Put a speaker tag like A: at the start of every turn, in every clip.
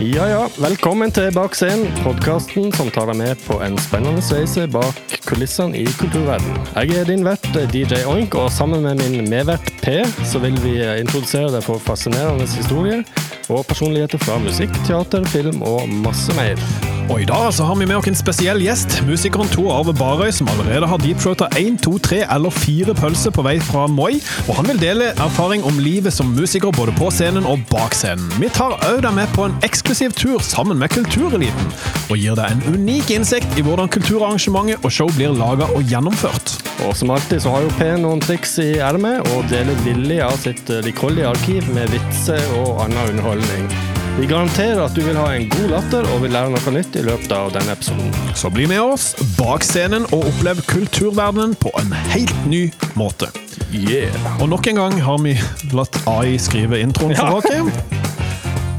A: Ja, ja. Velkommen til Bak scenen, podkasten som tar deg med på en spennende reise bak kulissene i kulturverden. Jeg er din vert DJ Oink, og sammen med min medvert P så vil vi eh, introdusere deg for fascinerende historier og personligheter fra musikk, teater, film og masse mer.
B: Og i dag så har vi med oss en spesiell gjest. Musikeren Tor Arve Barøy, som allerede har deepthroata én, to, tre eller fire pølser på vei fra Moi. Og han vil dele erfaring om livet som musiker både på scenen og bak scenen. Vi tar òg deg med på en eksklusiv tur sammen med kultureliten. Og gir deg en unik innsikt i hvordan kulturarrangementet og show blir laga og gjennomført.
A: Og som alltid så har jo P noen triks i ermet, og deler villig av sitt eh, rikholdige arkiv med vitser og annen underholdning. Vi garanterer at du vil ha en god latter og vil lære noe nytt i løpet av denne episoden.
B: Så bli med oss bak scenen og opplev kulturverdenen på en helt ny måte.
A: Yeah!
B: Og nok en gang har vi latt AI skrive introen for oss.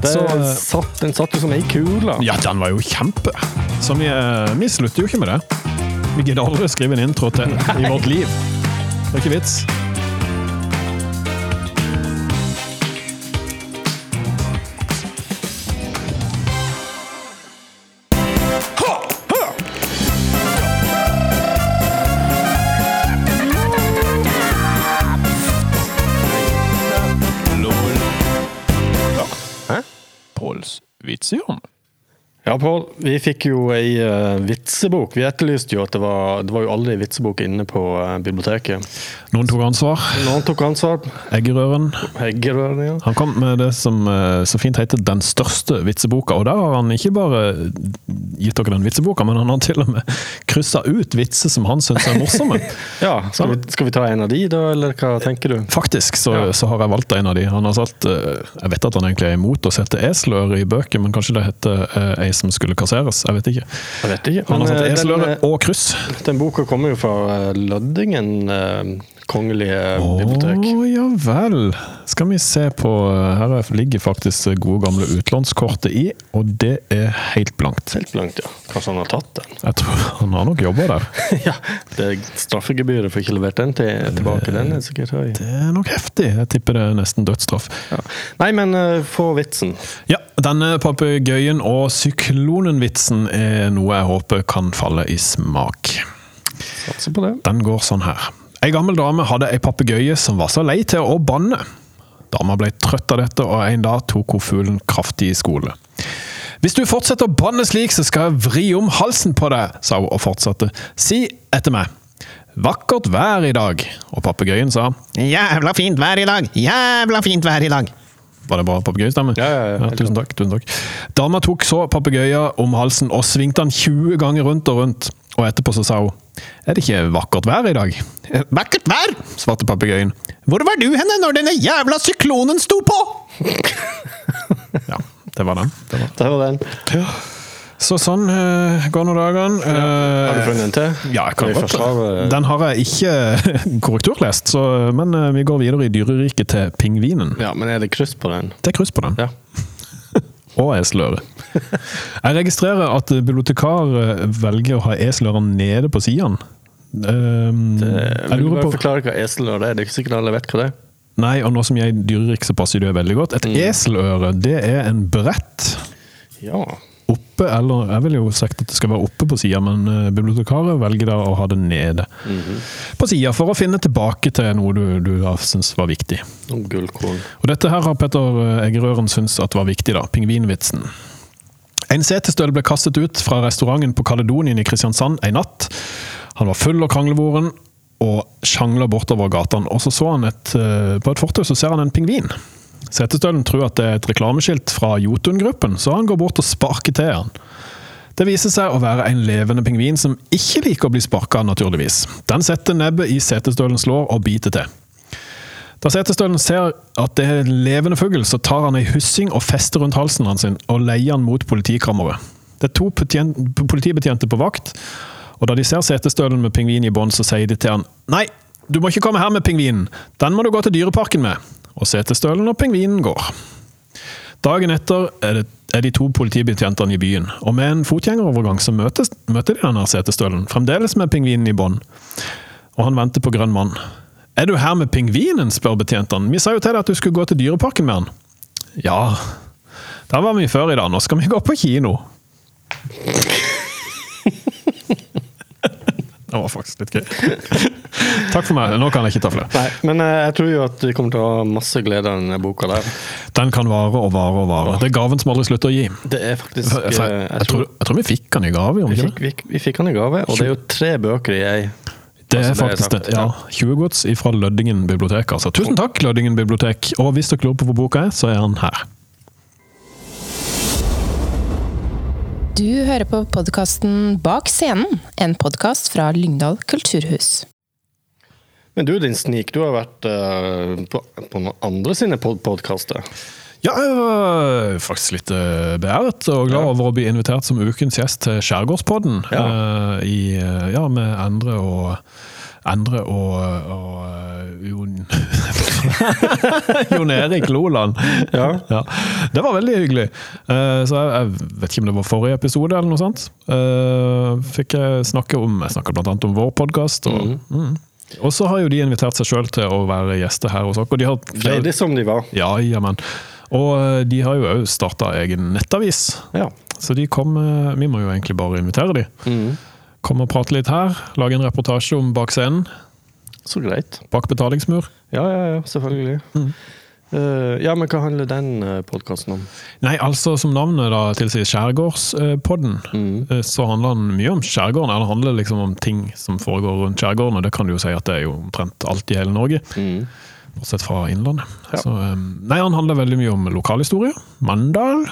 A: Det
B: Så, eh,
A: satt, den satt jo som ei kule.
B: Ja, den var jo kjempe. Så vi, eh, vi slutter jo ikke med det. Vi gidder aldri å skrive en intro til i vårt liv. Det er ikke vits.
A: Hæ?
B: Påls vitsehjørne.
A: Ja, Pål, vi fikk jo ei eh, vitsebok. Vi etterlyste jo at det var, det var jo aldri vitsebok inne på eh, biblioteket.
B: Noen tok ansvar.
A: Noen tok ansvar.
B: Eggerøren.
A: Heggerøringa.
B: Han kom med det som eh, så fint heter 'Den største vitseboka'. Og der har han ikke bare gitt dere den vitseboka, men han har til og med kryssa ut vitser som han syns er morsomme.
A: Ja, skal vi, skal vi ta en av de, da, eller hva tenker du?
B: Faktisk så,
A: Ja.
B: så har jeg valgt en av de. Han har sagt eh, Jeg vet at han egentlig er imot å sette eseløre i bøker, men kanskje det heter eh, ei som skulle kasseres? Jeg vet ikke.
A: Jeg vet ikke.
B: Han har
A: Men
B: satt
A: eh, den,
B: eseløre
A: eh,
B: og kryss.
A: den boka kommer jo fra eh, Lødingen eh, kongelige
B: Å
A: bibliotek.
B: ja vel. Skal vi se på eh, Her er- ligger faktisk det gode gamle utlånskortet i, og det er helt blankt.
A: Helt blankt, ja. Kanskje han har tatt den?
B: Jeg tror han har nok jobba der.
A: ja, Det er straffegebyret for ikke levert den til, tilbake. Den er sikkert høy.
B: Det er nok heftig. Jeg tipper det er nesten dødsstraff.
A: Ja. Nei, men eh, få vitsen.
B: Ja, denne papegøyen og syklonen-vitsen er noe jeg håper kan falle i smak.
A: Satser på det.
B: Den går sånn her. Ei gammel dame hadde ei papegøye som var så lei til å banne. Dama ble trøtt av dette, og en dag tok hun fuglen kraftig i skole. Hvis du fortsetter å banne slik, så skal jeg vri om halsen på deg, sa hun og fortsatte. Si etter meg. Vakkert vær i dag. Og papegøyen sa.
C: Jævla fint vær i dag! Jævla fint vær i dag!
B: Var det bra papegøyestemme?
A: Ja, ja, ja.
B: tusen takk. tusen takk. Dama tok så papegøya om halsen og svingte den 20 ganger rundt og rundt. Og etterpå så sa hun. Er det ikke vakkert vær i dag? «Eh,
C: Vakkert vær!
B: svarte papegøyen.
C: Hvor var du henne når denne jævla syklonen sto på?
B: Ja, det var den. Det var.
A: Der var den.
B: Så sånn eh, går nå dagene.
A: Har du
B: Eh,
A: funnet en til?
B: ja, jeg kan
A: Vi
B: godt.
A: forsvarer-
B: Den har jeg ikke eh, korrekturlest, så, men eh, vi går videre i dyreriket til pingvinen.
A: Ja, men er det kryss på den?
B: Det er kryss på den.
A: Ja.
B: Og eseløre. Jeg registrerer at bibliotekar eh, velger å ha eseløren nede på siden. Ehm, jeg
A: vil du
B: lurer
A: bare
B: på
A: forklare hva eseløre er? Det er ikke sikkert alle vet hva det er.
B: Nei, og nå som jeg er dyrerik, så passer det jo veldig godt. Et
A: Mm.
B: eseløre, det er en brett
A: Ja.
B: oppe, eller jeg vil jo sagt at det skal være oppe på sida, men eh, bibliotekaret velger da å ha det nede
A: Mhm.
B: på sida for å finne tilbake til noe du, du har syntes var viktig.
A: Noen gullkorn.
B: Og dette her har Petter Eggerøren syntes at var viktig, da. Pingvinvitsen. En setestøl ble kastet ut fra restauranten på Kaledonien i Kristiansand en natt. Han var full og kranglevoren og sjangla bortover gatene. Og så så han et, eh, på et fortau så ser han en pingvin. Setestølen tror at det er et reklameskilt fra Jotun-gruppen, så han går bort og sparker til han. Det viser seg å være en levende pingvin som ikke liker å bli sparka, naturligvis. Den setter nebbet i setestølens lår og biter til. Da setestølen ser at det er en levende fugl, så tar han ei hyssing og fester rundt halsen hans sin, og leier han mot politikammeret. Det er to betjen- politibetjente på vakt, og da de ser setestølen med pingvin i bånd, så sier de til han Nei, du må ikke komme her med pingvinen, den må du gå til dyreparken med. Og setestølen og pingvinen går. Dagen etter er, det, er de to politibetjentene i byen, og med en fotgjengerovergang så møtes, møter de denne setestølen, fremdeles med pingvinen i bånd og han venter på grønn mann. Er du her med pingvinen, spør betjentene. Vi sa jo til deg at du skulle gå til dyreparken med han. Ja, Der var vi før i dag. Nå skal vi gå på kino. Det var faktisk litt gøy. Takk for meg. Nå kan jeg ikke ta flere.
A: Nei, men eh, jeg tror jo at vi kommer til å ha masse glede av denne boka der.
B: Den kan vare og vare og vare. Det er gaven som aldri slutter å gi.
A: Det er faktisk
B: For,
A: eh,
B: jeg, jeg,
A: Jeg
B: tror,
A: tror
B: jeg tror vi fikk den i gave, gjorde
A: vi
B: vi
A: fikk,
B: ikke det?
A: vi, vi fikk han i gave, og det er jo tre bøker i ei.
B: Det er
A: Altså, det er
B: faktisk det.
A: sant,
B: Ja, 20 gods fra Lødingen bibliotek. Altså. Tusen takk, Lødingen bibliotek. Og hvis dere lurer på hvor boka er, så er den her.
D: Du hører på podkasten Bak scenen, en podkast fra Lyngdal kulturhus.
A: Men du, din snik, du har vært eh, på, på noen andre sine pod podkaster.
B: Ja, jeg var faktisk litt eh, beæret og glad over å bli invitert som ukens gjest til Skjærgårdspodden. Ja. i, eh, ja, med Endre og Endre og, og eh, Jon Jon Erik Loland.
A: Ja.
B: Det var veldig hyggelig. Eh, så jeg, jeg vet ikke om det var forrige episode eller noe sånt. Eh, fikk jeg snakke om Jeg snakket blant annet om vår podkast. Og, mm. og så har jo de invitert seg sjøl til å være gjester her hos oss. Og de har
A: Freidig som de var.
B: ja, jamen. Og eh, de har jo òg starta egen nettavis.
A: Ja.
B: Så de kom eh, Vi må jo egentlig bare invitere de. Kom og prate litt her. Lage en reportasje om bak scenen.
A: Så greit.
B: Bak betalingsmur.
A: Ja, ja, ja, selvfølgelig.
B: Mm.
A: Eh, ja, men hva handler den uh, podkasten om?
B: Nei, altså som navnet da tilsier Skjærgårdspodden, eh, så handler den mye om skjærgården. Eller handler liksom om ting som foregår rundt skjærgården, og det kan du jo si at det er jo omtrent alt i hele Norge. Bortsett fra innlandet. Så, eh, nei, han handler veldig mye om lokalhistorie. Mandal.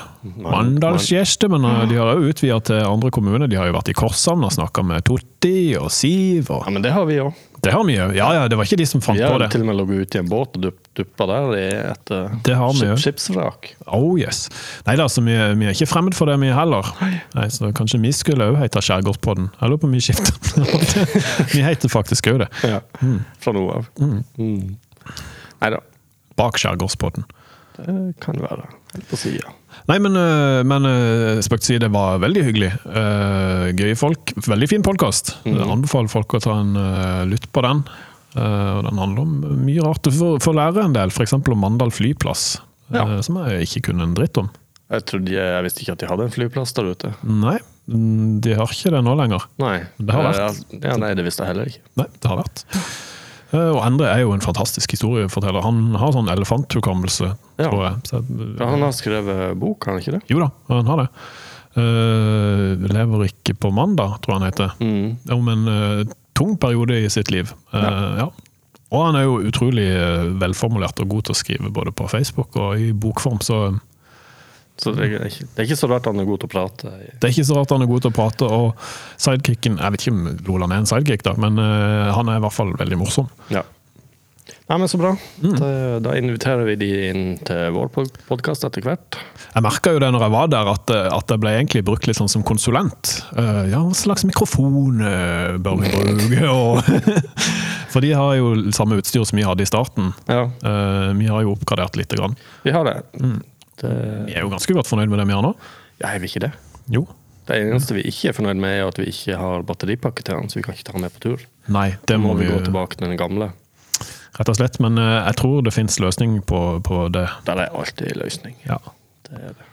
B: Mandalsgjeste. Men eh, de har jo utvida til andre kommuner. De har jo vært i Korshamn og snakka med Totti og Siv.
A: Ja,
B: Og,
A: men det har vi òg.
B: det har vi jo. Ja ja, det var ikke de som fant
A: Vi
B: på
A: har
B: det.
A: til og med ligget ute i en båt og dupp- duppa der i et eh,
B: Det har vi
A: skip-
B: jo.
A: skipsvrak.
B: Oh yes. Nei da, så vi, vi er ikke fremmed for det, vi heller. Nei, så kanskje vi skulle òg hete Skjærgårdspodden. Jeg lurer på om vi skifter. vi heter faktisk òg det.
A: Ja. Fra nå av. Mm. Nei da,
B: Bak Skjærgårdspodden.
A: det kan være. Helt på sida.
B: Nei, men, øh, men øh, spøk til side, det var veldig hyggelig. Øh, Gøye folk. Veldig fin podkast. Anbefaler folk å ta en øh, lytt på den. Øh, og Den handler om mye rart. Du får, får lære en del, f.eks. om Mandal flyplass.
A: Ja.
B: øh, Som jeg ikke kunne en dritt om.
A: Jeg, trodde, jeg visste ikke at de hadde en flyplass der ute.
B: Nei, mm, de har ikke det nå lenger.
A: Nei,
B: Det har vært.
A: Eh, Ja, nei, det visste jeg heller ikke.
B: Nei, det har vært. Eh, Og Endre er jo en fantastisk historieforteller. Han har sånn elefanthukommelse,
A: Ja.
B: tror jeg. Så, jeg-
A: Ja, han har skrevet bok, har han ikke det?
B: Jo da, han har det. Eh, lever ikke på mandag, tror jeg han heter.
A: Mm.
B: Om en eh, tung periode i sitt liv. Eh, ja. Og han er jo utrolig eh, velformulert og god til å skrive både på Facebook og i bokform, så eh,
A: Så det er, ikke, det er ikke så rart han er god til å prate.
B: det er ikke så rart han er god til å prate. Og sidekicken Jeg vet ikke om Loland er en sidekick, da, men eh, han er i hvert fall veldig morsom.
A: Ja. Nei, men så bra.
B: Mm.
A: Da, da inviterer vi de inn til vår podkast etter hvert.
B: Jeg merka jo det når jeg var der, at, eh, at jeg ble egentlig brukt litt sånn som konsulent. Eh, ja, hva slags mikrofon eh, bør vi bruke? Og For de har jo samme utstyr som vi hadde i starten.
A: Ja,
B: Eh, vi har jo oppgradert lite grann.
A: vi har det.
B: Mm.
A: det.
B: Vi er jo ganske godt fornøyd med det vi har nå.
A: Ja, er vi ikke det?
B: Jo.
A: Det eneste vi ikke er fornøyd med, er at vi ikke har batteripakke til den, så vi kan ikke ta den med på tur.
B: Nei, det
A: Må
B: må
A: vi
B: vi
A: Mm, gå
B: jo
A: tilbake til den gamle?
B: rett og slett. Men eh, jeg tror det fins løsning på, på det.
A: Der er alltid løsning.
B: Ja.
A: Det er det.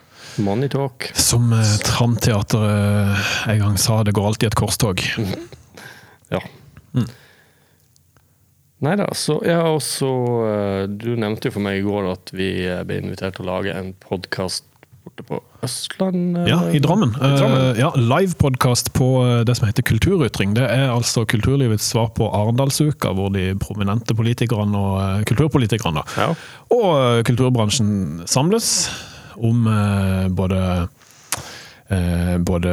A: Money talk.
B: Som uh, Tramteatret eh, en gang sa, det går alltid et korstog.
A: Ja.
B: Mm.
A: Nei da, så jeg har også eh, Du nevnte jo for meg i går at vi eh, ble invitert til å lage en podkast borte på Østland. eh,
B: Ja, i Drammen.
A: I Drammen.
B: Eh, ja, Livepodkast på eh, det som heter Kulturytring. Det er altså kulturlivets svar på Arendalsuka, hvor de prominente politikerne og eh, kulturpolitikerne da,
A: Ja.
B: og eh, kulturbransjen samles om eh, både eh, både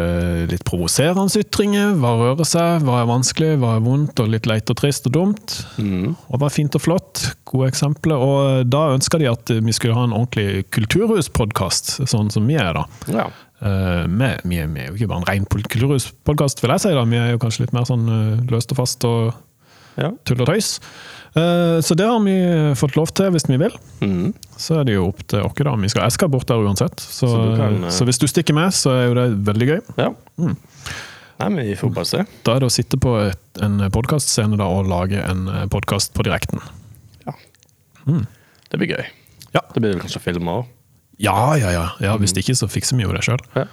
B: litt provoserende ytringer, hva rører seg, hva er vanskelig, hva er vondt, og litt leit og trist og dumt.
A: Mm.
B: Og hva er fint og flott. Gode eksempler. Og eh, da ønska de at vi skulle ha en ordentlig kulturhuspodkast, sånn som vi er, da.
A: ja.
B: Eh, med, vi, er, vi er jo ikke bare en ren kulturhuspodkast, vil jeg si. da, Vi er jo kanskje litt mer sånn eh, løst og fast og
A: ja.
B: tull og tøys. Eh, så det har vi fått lov til, hvis vi vil.
A: Mhm.
B: Så er det jo opp til oss, da. om Vi skal, jeg skal bort der uansett. Så,
A: Så
B: så,
A: du kan, eh,
B: hvis du stikker med, så er jo det veldig gøy.
A: ja. Mm. Nei, men vi får bare se.
B: Da er det å sitte på et, en podkastscene da, og lage en podkast på direkten.
A: Det blir gøy.
B: Ja.
A: Det blir vel kanskje filma òg.
B: Ja, ja, ja. ja
A: Mhm.
B: hvis ikke, så fikser vi jo det sjøl.
A: Ja.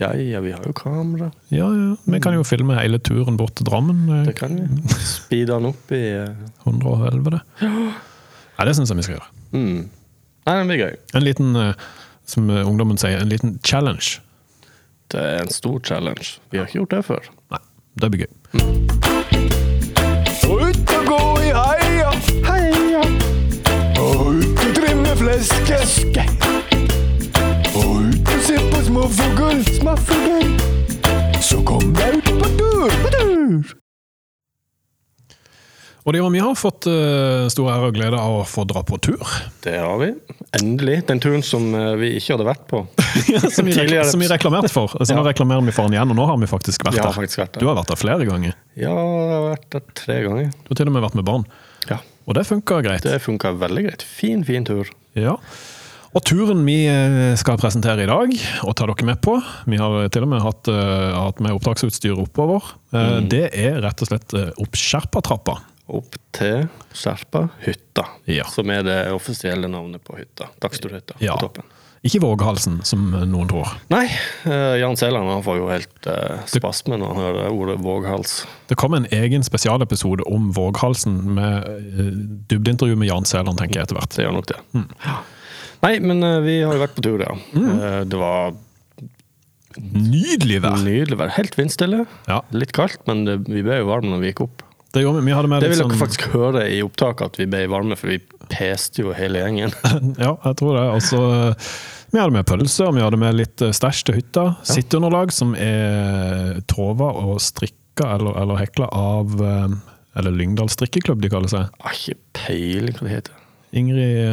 A: ja, ja, vi har jo kamera.
B: Ja, ja. Vi kan
A: Mhm.
B: jo filme hele turen bort til Drammen. eh,
A: Det kan vi. Speede den opp i eh,
B: 111, det. Ja, det syns jeg vi skal gjøre.
A: mm. Nei, det blir gøy.
B: En liten, eh, som eh, ungdommen sier, en liten challenge.
A: Det er en stor challenge. Vi har ikke gjort det før.
B: Nei, det blir gøy.
E: Og ut og gå i heia. Og ut og trimme fleske. Og ut og se på småfugl. Så kom deg ut på tur. På tur.
B: Og det gjør vi har fått eh, stor ære og glede av å få dra på tur.
A: Det har vi. Endelig. Den turen som eh, vi ikke hadde vært på.
B: Som vi,
A: Tidligere.
B: rekl som vi reklamerte for. Altså, Nå reklamerer vi for den igjen, og nå har vi faktisk vært
A: Jeg har
B: der.
A: faktisk vært der.
B: Du har vært der flere ganger.
A: Ja, jeg har vært der tre ganger.
B: Du har til og med vært med barn.
A: Ja.
B: Og det funka greit.
A: Det funka veldig greit. Fin, fin tur.
B: Ja. Og turen vi eh, skal presentere i dag, og ta dere med på Vi har eh, til og med hatt, eh, hatt med opptaksutstyr oppover. Eh,
A: Mm.
B: Det er rett og slett eh, opp Skjerpatrappa.
A: Opp til Skjerpa hytta,
B: Ja.
A: som er det offisielle navnet på hytta. Dagsturhytta
B: Ja.
A: på toppen.
B: Ikke Våghalsen, som eh, noen tror.
A: Nei, eh, Jan Sæland han får jo helt eh, spasme når han hører ordet våghals.
B: Det kom en egen spesialepisode om Våghalsen, med eh, dybdeintervju med Jan Sæland, tenker jeg etter hvert.
A: Det gjør nok det.
B: Mm.
A: Ja. Nei, men eh, vi har jo vært på tur, ja. Eh, det var
B: Nydelig vær!
A: nydelig vær. Helt vindstille.
B: Ja,
A: Litt kaldt, men det, vi ble jo varme når vi gikk opp.
B: det gjorde vi. Vi hadde med
A: Det
B: litt
A: vil
B: sånn
A: dere faktisk høre i opptaket, at vi ble varme, for vi peste jo hele gjengen.
B: Ja, jeg tror det. Og så, eh, vi hadde med pølse, og vi hadde med litt eh, stæsj til hytta. Sitteunderlag som er tråva og strikka eller, eller hekla av eh, Eller Lyngdal strikkeklubb, de kaller seg.
A: Jeg har ikke peiling hva det heter.
B: Ingrid eh,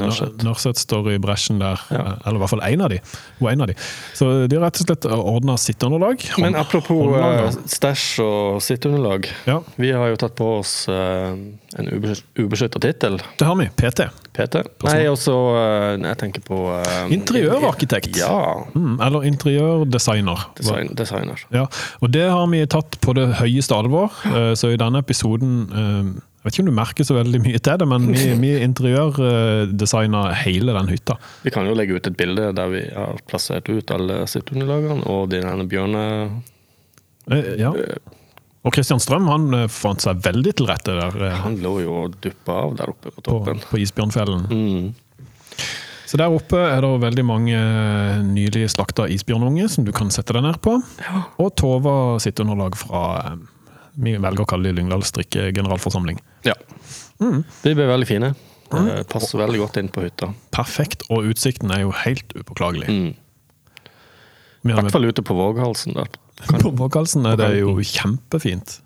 A: Nørseth.
B: Nør- Nørseth står i bresjen der.
A: Ja.
B: eh, Eller i hvert fall én av de. Hun er en av de. Så de har rett og slett eh, ordna sitteunderlag.
A: Men apropos
B: håndlag,
A: eh, stæsj og sitteunderlag.
B: Ja,
A: Vi har jo tatt på oss eh, en ubeskytta tittel,
B: det har vi. PT.
A: PT.
B: sånn.
A: Nei, også eh, Jeg tenker på eh,
B: Interiørarkitekt.
A: Ja.
B: Mm, eller interiørdesigner.
A: Design, designer.
B: Ja, og det har vi tatt på det høyeste alvor. eh, Så i denne episoden eh, Jeg vet ikke om du merker så veldig mye til det, men vi, vi interiørdesigna hele den hytta.
A: Vi kan jo legge ut et bilde der vi har plassert ut alle sitteunderlagene og de denne bjørne...
B: Eh, Ja. Og Kristian Strøm han eh, fant seg veldig til rette der eh,
A: Han lå jo og duppa av der oppe på
B: på,
A: toppen.
B: på Isbjørnfjellen.
A: Mm.
B: Så der oppe er det veldig mange eh, nylig slakta isbjørnunge som du kan sette deg ned på. Og Tova sitt underlag fra eh, Vi velger å kalle det Lyngdal strikke generalforsamling.
A: Ja. De ble veldig fine. Eh, Passer veldig godt inn på hytta.
B: Perfekt, og utsikten er jo helt upåklagelig.
A: Mm.
B: Vi
A: I
B: har med
A: hvert fall ute på våghalsen der.
B: På Våghalsen er det jo kjempefint.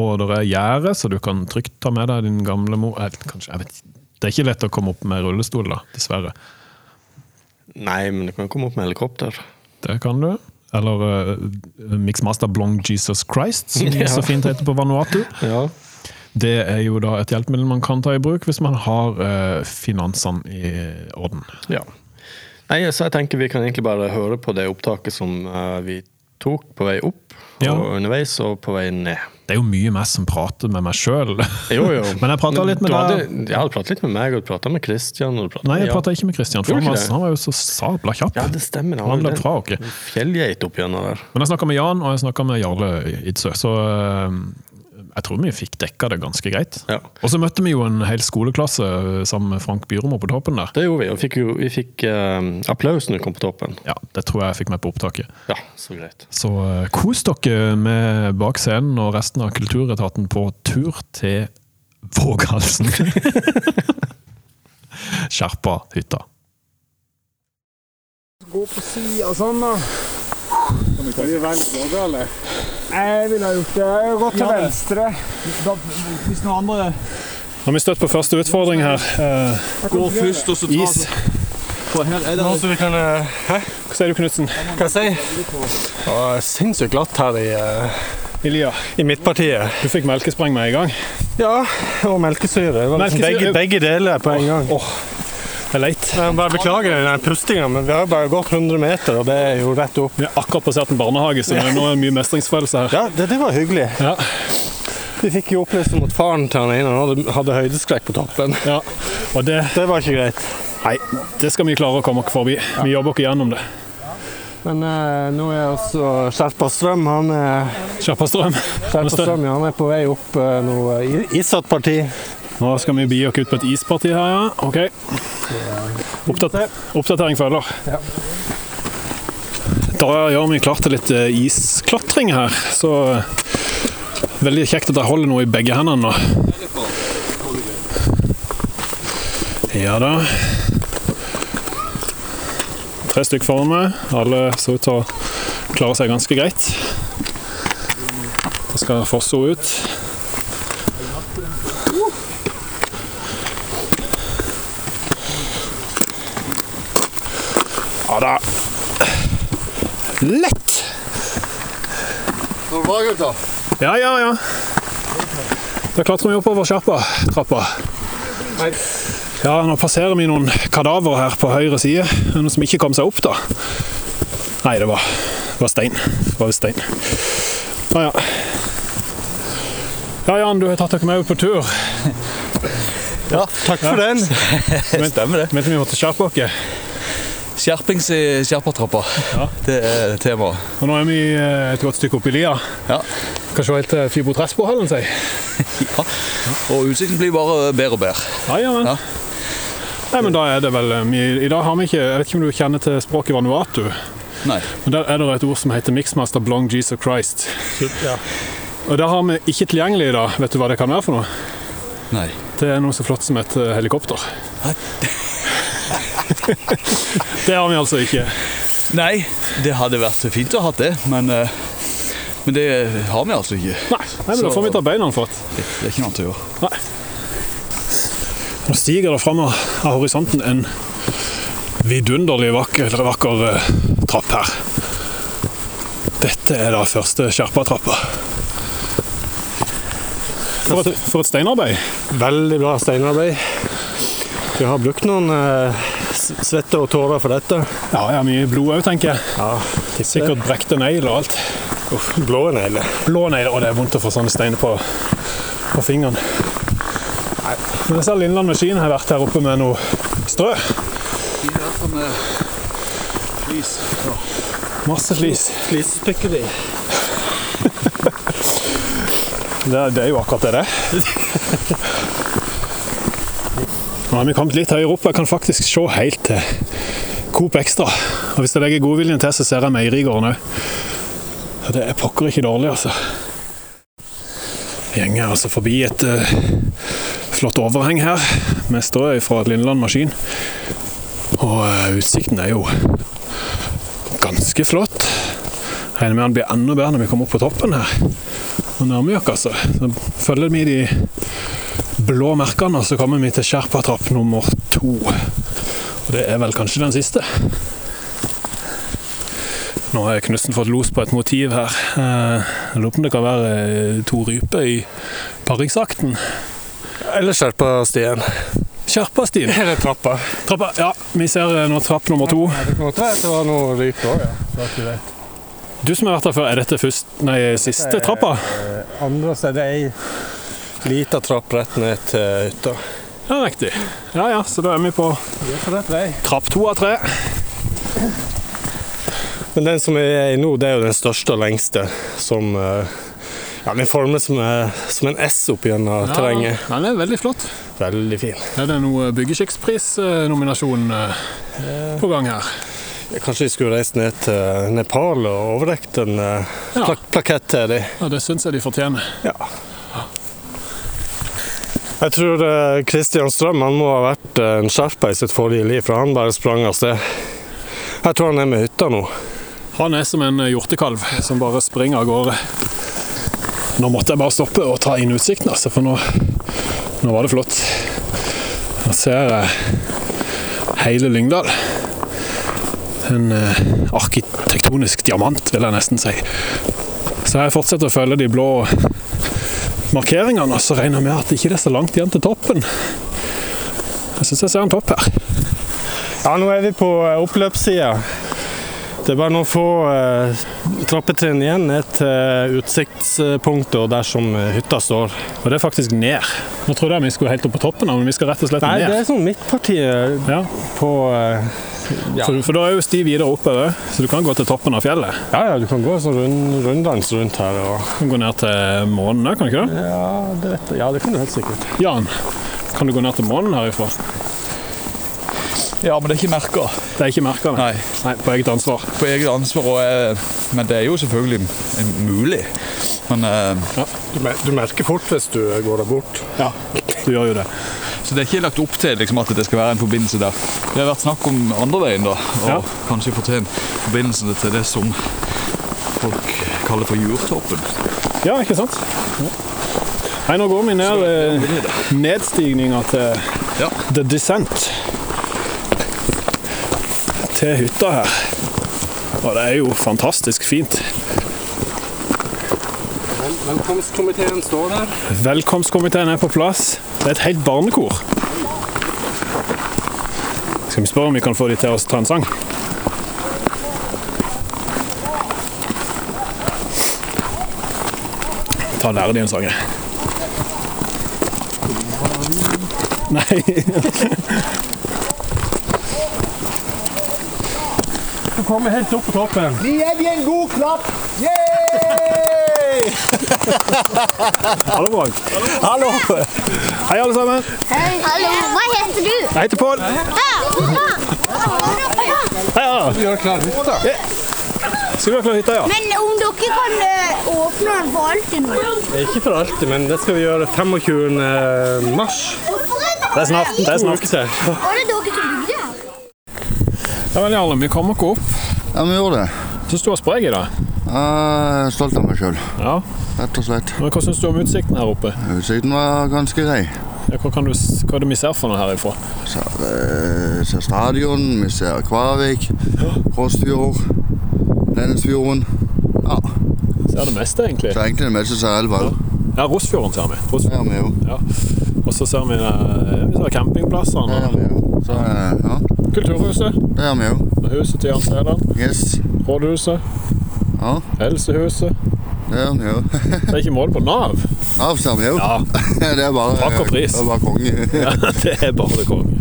B: Og det er gjerde, så du kan trygt ta med deg din gamle mor jeg, vet- kanskje, jeg vet, ikke. Det er ikke lett å komme opp med rullestol, da, dessverre.
A: Nei, men du kan komme opp med helikopter.
B: Det kan du. Eller uh, Mixmaster Blong Jesus Christ, som
A: Ja.
B: så fint heter på Vanuatu.
A: Ja.
B: Det er jo da et hjelpemiddel man kan ta i bruk hvis man har eh, finansene i orden.
A: ja. Nei, så jeg tenker vi kan egentlig bare høre på det opptaket som eh, vi tok på vei opp,
B: Ja.
A: og underveis, og på vei ned.
B: Det er jo mye meg som prater med meg sjøl.
A: Jo, jo.
B: Men jeg pratet litt med
A: du
B: deg.
A: hadde- Jeg hadde pratet litt med meg, og du pratet med Christian. Og du pratet
B: Nei, jeg
A: med Jan.
B: prata ikke med Christian, for
A: Gjorde
B: han var,
A: ikke det?
B: han var jo så sabla kjapp.
A: Ja, det stemmer. det var
B: Han
A: jo
B: løp
A: den
B: fra dere.
A: Fjellgeit opp gjennom der.
B: Men jeg snakka med Jan, og jeg snakka med Jarle Idsø, så eh, jeg tror vi fikk dekka det ganske greit.
A: Ja.
B: Og så møtte vi jo en hel skoleklasse eh, sammen med Frank Byromo på toppen der.
A: Det gjorde vi, og fikk jo, vi fikk eh, applaus når vi kom på toppen.
B: Ja, Det tror jeg jeg fikk med på opptaket.
A: Ja, så greit.
B: Så eh, kos dere med bak scenen og resten av Kulturetaten på tur til Våghalsen. Skjerpa hytta.
F: gå på sida og sånn, da. Har du valgt både, eller? Nei, jeg ville ha gjort det. Jeg har gått til venstre. hvis noen andre
B: Nå har vi støtt på første utfordring her. Eh,
G: Gå først, og så ta
B: Is.
G: For her er det
E: Så vi kan eh,
B: Hva sier du, Knutsen?
E: Hva jeg si? Det var sinnssykt glatt her i, eh,
B: Elia,
E: i midtpartiet.
B: du fikk melkespreng med en gang.
E: Ja, og melkesyre. Det var liksom
B: Melkesyre- eh,
E: begge, begge deler på en gang.
B: Det er leit.
E: Jeg må bare beklager den pustinga, men vi har bare gått 100 meter, og det er jo rett opp.
B: Vi har akkurat passert en barnehage, så det er nå mye mestringsfølelse her.
E: Ja, det, det var hyggelig.
B: Ja.
E: Vi fikk jo opplysning om at faren til han ene han hadde, hadde høydeskrekk på toppen.
B: Ja, og det,
E: Det var ikke greit.
B: Nei, det skal vi klare å komme forbi. Vi jobber oss gjennom det.
A: Men eh, nå er altså Skjerpa Strøm han er,
B: Skjerpa strøm.
A: Skjerpa Strøm, ja, han er på vei opp eh, nå. eh, i- Issatt parti.
B: Nå skal vi bi oss ut på et isparti her, ja. OK. Oppdater oppdatering følger. Da gjør vi klart til litt eh, isklatring her, så eh, Veldig kjekt at jeg holder noe i begge hendene nå. Ja da. Tre stykk foran meg. Alle så ut til å klare seg ganske greit. Det skal fosse ut. Ja da. Lett! Ja, ja, ja. Da klatrer vi oppover skjerpa, trappa. Ja, nå passerer vi noen kadaver her på høyre side. Noen som ikke kom seg opp, da. Nei, det var, det var stein. Det var visst stein. Ja, ja. Ja, Jan, du har tatt dere med på tur.
A: Ja, takk for den.
H: Stemmer det.
B: Mente vi måtte skjerpe oss.
H: Skjerpings i skjerpertrappa. Det er temaet.
B: Og nå er vi eh, et godt stykke opp i lia.
H: Ja.
B: Kan se helt eh, til Fibotresbohallen, sier jeg.
H: ja. Og utsikten blir bare bedre og bedre.
B: Ja, ja, men.
H: Ja.
B: Nei, men da er det vel eh, mye I dag har vi ikke Jeg vet ikke om du kjenner til språket vanuatu,
H: Nei.
B: men der er det et ord som heter mixmaster blong Jesus Christ. Og det har vi ikke tilgjengelig i dag. Vet du hva det kan være for noe?
H: Nei.
B: Det er noe så flott som et eh, helikopter. det har vi altså ikke.
H: Nei, det hadde vært fint å ha hatt det, men, eh, men det har vi altså ikke.
B: Nei, Nei men da
H: Så-
B: får vi ta beina fatt.
H: Det er ikke noe annet å gjøre.
B: Nei. Nå stiger det fram av av horisonten en vidunderlig vakker, vakker eh, trapp her. Dette er da første skjerpatrappa. For et, for et steinarbeid.
A: Veldig bra steinarbeid. Vi har brukt noen eh, s- svette og tårer for dette.
B: Ja, ja, mye blod òg, tenker jeg.
A: Ja,
B: Sikkert brekte negler og alt.
A: Uff, blå negler.
B: Blå negler, og det er vondt å få sånne steiner på, på fingeren. Men jeg ser Lindland Maskin har vært her oppe med noe strø. Masse flis.
A: Flisespikkeri.
B: Det, er- det er jo akkurat det det er. Nå har vi kommet litt høyere opp, og jeg kan faktisk se helt til Coop Extra. Og hvis jeg legger godviljen til, så ser jeg Meierigården òg. Og det er pokker ikke dårlig, altså. Jeg Gjenger altså forbi et eh, flott overheng her, med strø fra Lindland Maskin. Og eh, utsikten er jo ganske flott. Regner med den blir enda bedre når vi kommer opp på toppen her. Og nærmer vi oss, altså. Så følger vi de blå merkene, og så kommer vi til Sherpatrapp nummer to. Og det er vel kanskje den siste. Nå har Knutsen fått los på et motiv her. Eh, Jeg lurer på om det kan være eh, to ryper i paringsakten.
A: Eller skjerpa stien.
B: Sherpastien.
A: Eller trappa.
B: Trappa. Ja, vi ser eh, nå trapp nummer to.
A: Ja, det kan godt være at det var noe rype òg, ja. Det var ikke det.
B: Du som har vært her før, er dette først, nei, siste trappa?
A: Andre så er det ei lita trapp rett ned til hytta.
B: Ja, riktig. Ja ja, så da er vi på
A: Det er på rett vei.
B: trapp to av tre.
A: Men den som jeg er i nå, det er jo den største og lengste. Som eh, Ja, den formes som, eh, som en S opp gjennom terrenget.
B: Ja, den er veldig flott.
A: Veldig fin.
B: Er det noe byggeskikksprisnominasjon eh,
A: Eh.
B: på gang her?
A: Kanskje vi skulle reist ned til Nepal og overrekt en eh,
B: Ja.
A: plak plakett til dem.
B: Ja, Det syns jeg de fortjener.
A: Ja. Jeg tror eh, Kristian Strøm han må ha vært eh, en sherpa i sitt forrige liv, for han bare sprang av sted. Jeg tror han er med hytta nå.
B: Han er som en hjortekalv som bare springer av gårde. Nå måtte jeg bare stoppe og ta inn utsikten, altså, for nå, nå var det flott. Nå ser jeg hele Lyngdal. En eh, arkitektonisk diamant, vil jeg nesten si. Så jeg fortsetter å følge de blå markeringene, og så regner jeg med at det ikke er så langt igjen til toppen. Jeg syns jeg ser en topp her.
A: Ja, nå er vi på eh, oppløpssida.
I: Det er bare noen få eh, trappetrinn igjen ned til utsiktspunktet og der som eh, hytta står. Og det er faktisk ned.
B: Nå trodde jeg vi skulle helt opp på toppen, men vi skal rett og slett
I: Nei, det
B: ned.
I: er sånn midtpartiet
B: Ja.
I: på eh, ja.
B: For, for da er jo sti videre oppover, så du kan gå til toppen av fjellet.
I: ja, ja, du kan gå en sånn rund, runddans rundt her. Og,
B: Du kan gå ned til månen òg, kan du ikke det?
I: ja, det vet jeg. ja, det kan du helt sikkert.
B: Jan, kan du gå ned til månen herifra?
H: Ja, men det er ikke merka
B: Det er ikke merka,
H: Nei.
B: Nei, på eget ansvar.
H: på eget ansvar. Og, eh, men det er jo selvfølgelig m- mulig. Men, eh,
I: Du, merker fort hvis du går der bort.
B: Ja, du gjør jo det.
H: så det er ikke lagt opp til liksom, at det skal være en forbindelse der. Det har vært snakk om andre veien, da. Og
B: Ja.
H: kanskje få til en forbindelse til det som folk kaller for Jurtoppen.
B: Ja, ikke sant? Nei, nå går vi ned eh, nedstigninga til
H: Ja.
B: The Descent. Til hytta her. Og det er jo fantastisk fint.
I: Velkomstkomiteen står der.
B: Velkomstkomiteen er på plass. Det er et helt barnekor. Skal vi spørre om vi kan få de til å ta en sang? Ta og lære de en sang. jeg. Nei.
I: Du kommer helt opp på toppen.
B: Hallo, Våg. Hallo. Hei, alle sammen.
J: Hallo, hva heter du?
B: Jeg heter Pål. Hei, ja.
I: Vi har klar hytta.
B: Skal vi ha klar hytta, ja?
J: Men om dere kan eh, åpne den for alltid nå?
I: Ikke for alltid, men det skal vi gjøre 25. mars.
B: Det er snart. Det er snart.
J: Var det dere som bygde her?
B: Ja, men Jarle, vi kom ikke opp.
K: Ja, vi gjorde det.
B: Syns du var sprek i dag?
K: Jeg er stolt av meg sjøl,
B: Ja.
K: rett og slett.
B: Men hva syns du om utsikten her oppe?
K: Utsikten var ganske grei.
B: Ja, Hva, kan du, s- hva er det vi ser for noe herifra?
K: Så, eh, Vi ser stadion, vi ser Kvarvik, Krossfjord, Lennesfjorden. Ja,
B: Ser det meste, egentlig.
K: så egentlig det meste ser elva ut.
B: Ja, Rosfjorden ser vi. Rosfjorden.
K: Ja, vi jo.
B: Ja. Og så ser vi, eh, vi ser
K: Det
B: campingplassene.
K: gjør vi jo. Så, eh, ja,
B: og Kulturhuset.
K: det gjør vi jo.
B: Huset til Jan Stæland.
K: Yes.
B: Rådhuset.
K: Ja,
B: Helsehuset.
K: det gjør vi jo.
B: Det er ikke mål på Nav.
K: Av ser vi jo.
B: Ja,
K: Det er bare
B: Takk og pris.
K: Det er bare konge.
B: det er bare det konge.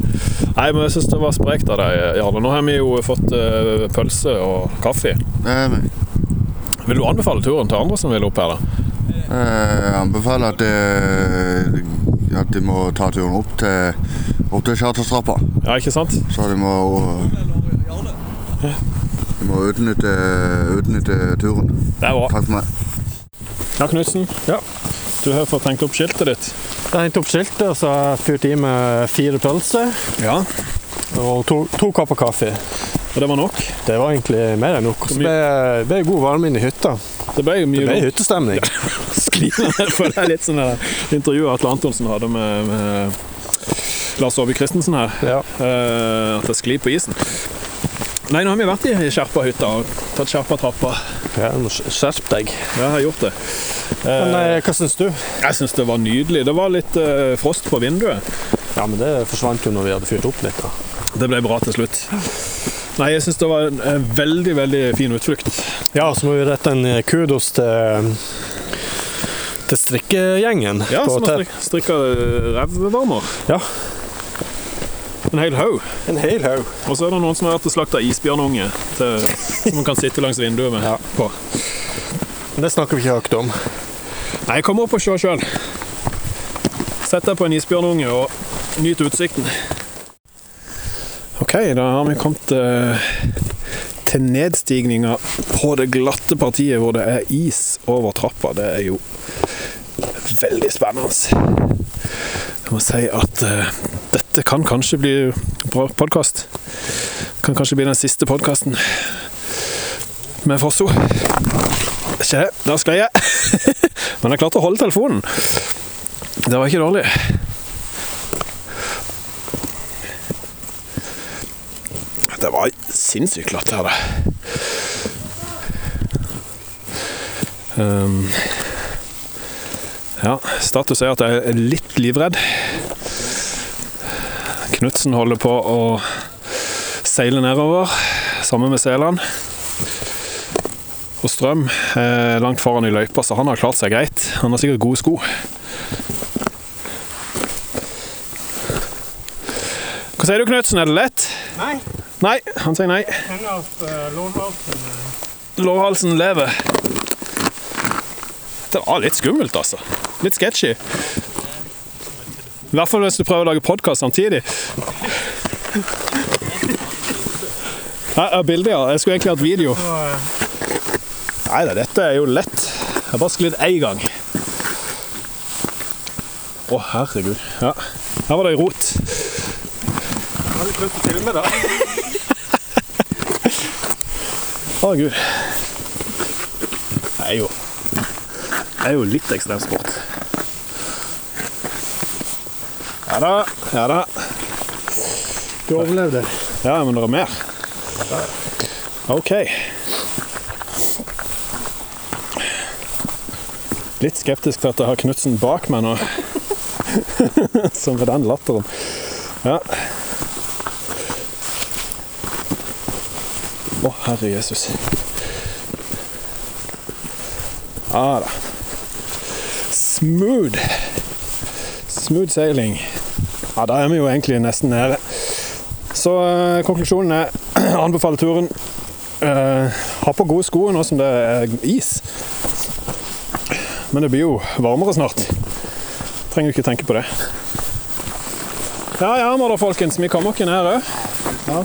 B: Nei, men jeg syns det var sprekt av deg, Jarle. Nå har vi jo fått eh, pølse og kaffe.
K: Det er vi.
B: Vil du anbefale turen til andre som vil opp her, da?
K: Jeg anbefaler at, eh, at de må ta turen opp til, opp til charterstrappa.
B: Ja, ikke sant?
K: Så de må, de må utnytte, utnytte turen.
B: Det er bra.
K: Takk for meg.
B: Ja, Knutsen.
I: Ja.
B: Du har fått tenkt opp skiltet ditt.
I: Jeg hengte opp skiltet og så har jeg fyrt i med fire pølser
B: Ja.
I: og to, to kopper kaffe.
B: Og det var nok.
I: Det var egentlig mer enn nok. Så ble det ble god varme inne i hytta.
B: Det ble jo mye
I: Det ble
B: godt.
I: hyttestemning.
B: skrivende. For det er litt sånn det der intervjuet Atle Antonsen hadde med, med Lars Aabye Christensen her.
I: Ja.
B: Eh, at det sklir på isen. Nei, nå har vi vært i Skjerpahytta og tatt Skjerpatrappa.
I: Ja, du må skjerpe deg.
B: Ja, jeg har gjort det.
I: Men eh, hva syns du?
B: Jeg syns det var nydelig. Det var litt eh, frost på vinduet.
I: Ja, men Det forsvant jo når vi hadde fyrt opp litt. da.
B: Det ble bra til slutt. Nei, jeg syns det var en eh, veldig, veldig fin utflukt.
I: Ja, så må vi rette en eh, kudos til, til strikkegjengen.
B: Ja,
I: på
B: som har
I: hotell.
B: strik- strikka eh, revvarmer.
I: Ja.
B: En hel haug.
I: En hel haug.
B: Og så er det noen som har vært og slakta isbjørnunge til, som man kan sitte langs vinduet med.
I: Ja.
B: på.
I: Men Det snakker vi ikke høyt om.
B: Nei, kom opp og se sjøl. Sett deg på en isbjørnunge og nyt utsikten. OK, da har vi kommet eh, til nedstigninga på det glatte partiet hvor det er is over trappa. Det er jo veldig spennende. Jeg må si at eh, dette kan kanskje bli bra podkast. Kan kanskje bli den siste podkasten med Fosso. Se, der sklei jeg. Men jeg klarte å holde telefonen. Det var ikke dårlig. Det var sinnssykt glatt her, det. Um, ja, status er at jeg er litt livredd. Knutsen holder på å seile nedover sammen med selene. Og Strøm er langt foran i løypa, så han har klart seg greit. Han har sikkert gode sko. Hva sier du, Knutsen? Er det lett?
F: Nei.
B: Nei, han sier nei.
F: Hender at eh, lårhalsen eh.
B: Lårhalsen lever. Det var litt skummelt, altså. Litt sketchy. I hvert fall hvis du prøver å lage podkast samtidig. Nei, ja, bilde, ja. Jeg skulle egentlig hatt video. Nei da, dette er jo lett. Jeg bare skulle litt én gang. Å, herregud. Ja, her var det ei rot.
F: Har du prøvd å filme, da?
B: Å, gud. Det er jo Det er jo litt ekstremsport. Ja da, ja da. Du overlevde. Ja, men det er mer. OK. Litt skeptisk til at jeg har Knutsen bak meg nå. Som med den latteren. Ja. Å, herre Jesus. Ja Ah, da. Smooth. Smooth sailing. Ja, da er vi jo egentlig nesten nede. Så eh, konklusjonen er anbefaler turen. Eh, ha på gode sko nå som det er is. Men det blir jo varmere snart. Trenger jo ikke tenke på det. Ja, ja, må da, folkens. Vi kommer ikke ned òg. Ja.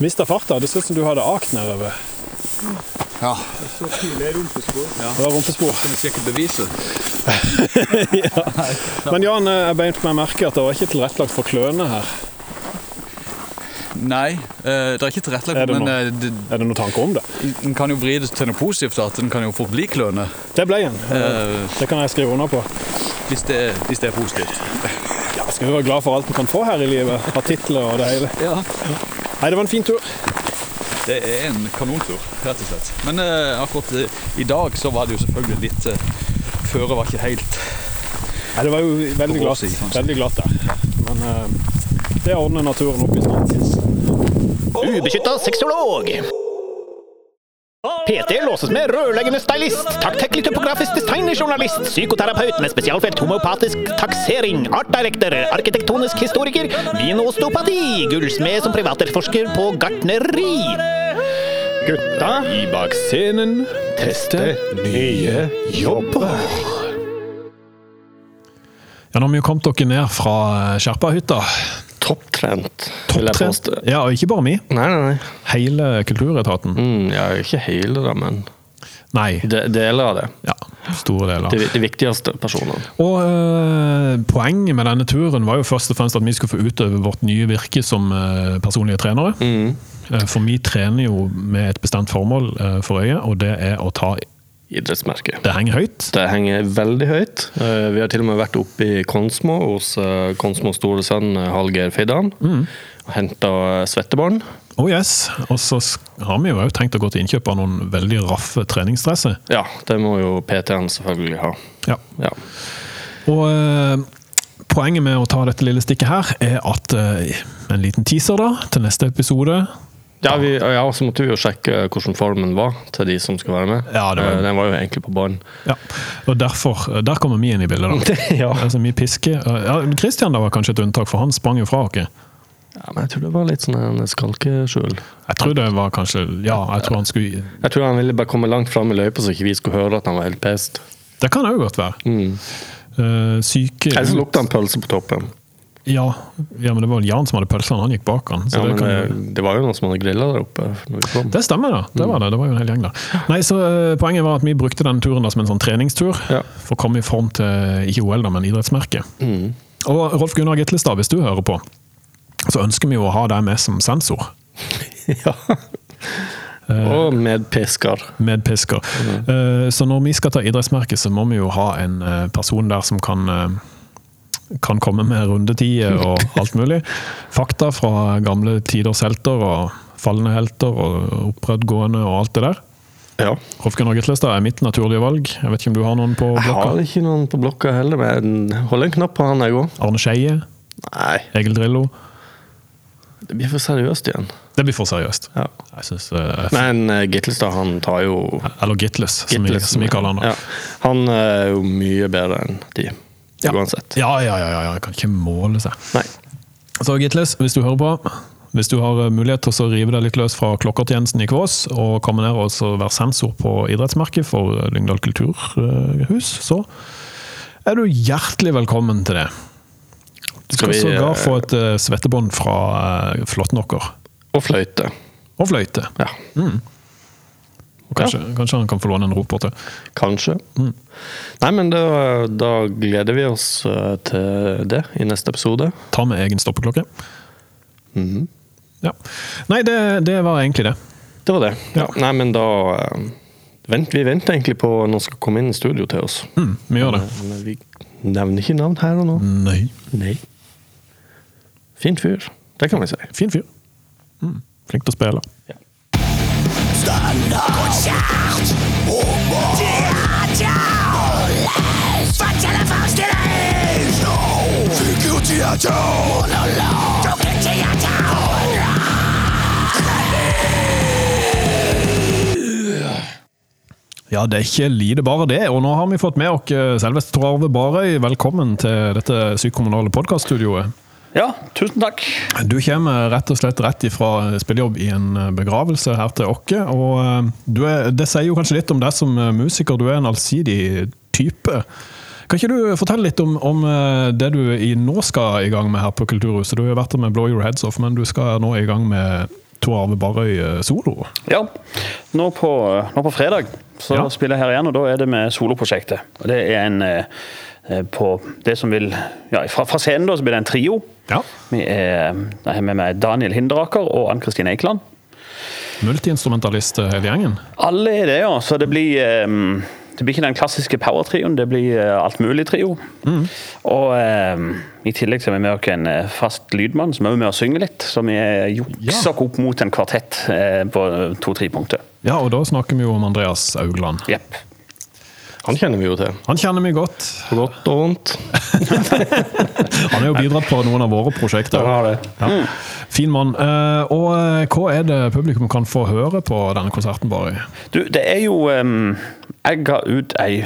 B: Mista farta. Det så ut som du hadde akt nedover. Ja.
F: Så tidlig rumpespor.
B: Det var rumpespor.
H: Skal vi sjekke beviset?
B: ja. Men Jan, eh, jeg begynte med å merke at det var ikke tilrettelagt for kløne her.
H: Nei, eh, det er ikke tilrettelagt.
B: Er det
H: men,
B: noe-
H: eh, det,
B: er det noen tanke om det?
H: En kan jo vri det til noe positivt, at en kan jo fort bli kløne.
B: Det ble en.
H: Eh,
B: Det kan jeg skrive under på.
H: hvis, det, hvis det er positivt.
B: Ja, skal vi være glad for alt vi kan få her i livet. Ha titler og det hele. Nei, det var en fin tur.
H: Det er en kanontur, rett og slett. Men eh, akkurat eh, i dag så var det jo selvfølgelig litt eh, Føret var ikke helt
B: Nei, det var jo veldig glatt,
A: sånn
B: veldig glatt der. Men eh, det ordner naturen opp i snart.
C: Ubeskytta sexolog. PT låses med rørleggende stylist, taktekkelig topografisk designerjournalist, psykoterapeut med spesialfelt homopatisk taksering, artdirektor, arkitektonisk historiker, vinostopati, gullsmed som privatforsker på gartneri. Gutta i bak scenen tester nye jobber.
B: Ja, nå har vi jo kommet dere ned fra eh, Skjerpahytta.
A: Topptrent, vil jeg
B: Topptrent.
A: påstå.
B: Ja, og ikke bare vi.
A: Nei, nei, nei.
B: Hele kulturetaten.
A: Mm, ja, ikke hele, da, men
B: Nei.
A: De, deler av det.
B: Ja, store deler.
A: De, de viktigste personene.
B: Og eh, poenget med denne turen var jo først og fremst at vi skulle få utøve vårt nye virke som eh, personlige trenere.
A: Mm.
B: Eh, for vi trener jo med et bestemt formål eh, for øye, og det er å ta
A: Idrettsmerke.
B: Det henger høyt?
A: Det henger veldig høyt. Eh, Vi har til og med vært oppe i Konsmo hos eh, Konsmos store sønn eh, Hallgeir Feidan
B: Mm.
A: og eh, henta svettebånd.
B: Oh yes, Og så s- har vi jo også tenkt å gå til innkjøp av noen veldig raffe treningsdresser.
A: Ja, det må jo PT-en selvfølgelig ha.
B: Ja.
A: Ja.
B: Og eh, poenget med å ta dette lille stikket her, er at eh, En liten teaser da, til neste episode.
A: Ja, vi, ja, så måtte vi jo sjekke hvordan formen var til de som skulle være med.
B: det var-
A: Eh, Den var jo egentlig på bånn.
B: Ja, og derfor, eh, Der kommer vi inn i bildet, da.
A: ja.
B: Altså, vi pisker. Ja, Christian da var kanskje et unntak, for han sprang jo fra oss.
A: Ja, men jeg tror det var litt sånn en skalkeskjul.
B: Jeg tror det var kanskje Ja, jeg tror han skulle
A: Jeg tror han ville bare komme langt fram i løypa så ikke vi skulle høre at han var helt pest.
B: Det kan òg godt være.
A: Mm.
B: eh, syke
A: Ellers lukta han pølse på toppen.
B: ja, ja, men det var Jan som hadde pølsene, han gikk bak han. Så
A: Ja,
B: det,
A: men eh,
B: kan,
A: det, det var jo noen som hadde grilla der oppe. Når vi kom.
B: det stemmer, da. Det var det. Det var jo en hel gjeng der. Nei, så eh, Poenget var at vi brukte den turen da som en sånn treningstur for å komme i form til eh, ikke OL, da, men idrettsmerket. Og Rolf Gunnar Gitlestad, hvis du hører på, så ønsker vi jo å ha deg med som sensor. Eh,
A: Og medpisker.
B: Medpisker. Eh, Så når vi skal ta idrettsmerke, så må vi jo ha en eh, person der som kan eh, kan komme med rundetider og alt mulig. Fakta fra gamle tiders helter og falne helter og opprørdgående og alt det der.
A: Ja.
B: Rolf Gunnar Gitlestad er mitt naturlige valg. Jeg vet ikke om du har noen på
A: Jeg har
B: blokka?
A: ikke noen på blokka heller, men hold en knapp på han jeg òg.
B: Arne Skeie?
A: Nei.
B: Egil Drillo?
A: Det blir for seriøst igjen.
B: Det blir for seriøst.
A: Ja.
B: Jeg synes, eh,
A: Men eh, Gitlestad, han tar jo
B: Eller Gitles, som vi- som vi kaller han da.
A: Ja. Han eh, er jo mye bedre enn de, uansett.
B: Ja, ja, ja, ja, ja. Kan ikke måle seg. Så Gitles, hvis du hører på hvis du har eh, mulighet til å så rive deg litt løs fra klokkertjenesten i Kvås og komme ned og så være sensor på idrettsmerket for eh, Lyngdal kulturhus, eh, så er du hjertelig velkommen til det. Du
A: Skal
B: skal,
A: vi,
B: sågar
A: eh,
B: få et eh, svettebånd fra eh, Flåttnokker.
A: Og fløyte.
B: Og fløyte.
A: Ja.
B: Mm. Og kanskje, kanskje han kan få låne en roper til.
A: Kanskje.
B: Mm.
A: Nei, men da, da gleder vi oss eh, til det i neste episode.
B: Ta med egen stoppeklokke.
A: Mhm.
B: Ja. Nei, det, det var egentlig det.
A: Det var det. Ja. Nei, men da eh, vent, Vi venter egentlig på noen som skal komme inn i studio til oss.
B: Mm, vi gjør det.
A: Men, men vi nevner ikke navn her og nå.
B: Nei.
A: Nei. Fin fyr. Det kan vi si.
B: Fin fyr. Mm. Flink til å spille.
E: Standardkonsert Ober Theater Spesielle forestilling Figurteater Dukketeater
B: Ja, det er ikke lite bare det. Og nå har vi fått med oss eh, selveste Tor Arve Barøy. Velkommen til dette sykekommunale podkaststudioet.
L: Ja, tusen takk.
B: Du kommer rett og slett rett ifra spillejobb i en eh, begravelse her til oss. Og eh, du er, det sier jo kanskje litt om deg som eh, musiker, du er en allsidig type. Kan ikke du fortelle litt om, om eh, det du i nå skal i gang med her på Kulturhuset? Du har jo vært der med Blow Your Heads Off, men du skal nå i gang med Tor Arve Barøy eh, solo.
L: Ja, nå på, nå på fredag så spiller jeg her igjen, og da er det med soloprosjektet. Og det er en eh, eh, på det som vil ja, fra, fra scenen da så blir det en trio. Vi er, da har vi med Daniel Hinderaker og Ann Kristin Eikeland.
B: Multiinstrumentalist eh, hele gjengen.
L: Alle er det, ja. Så det blir, ehm, det blir ikke den klassiske power-trioen, det blir eh, alt mulig-trio. Og ehm, i tillegg så er vi med oss en eh, fast lydmann som er med og synger litt. Så vi eh, jukser oss opp mot en kvartett eh, på to-tre punkter.
B: Ja, og da snakker vi jo om Andreas Augland.
A: Han kjenner vi jo til.
B: Han kjenner vi godt.
A: Godt og vondt.
B: Han har jo bidratt på noen av våre prosjekter.
A: Han har det. Mm.
B: Ja. Fin mann. Eh, Og eh, hva er det publikum kan få høre på denne konserten, Barry?
L: Du, det er jo ehm, Jeg ga ut ei,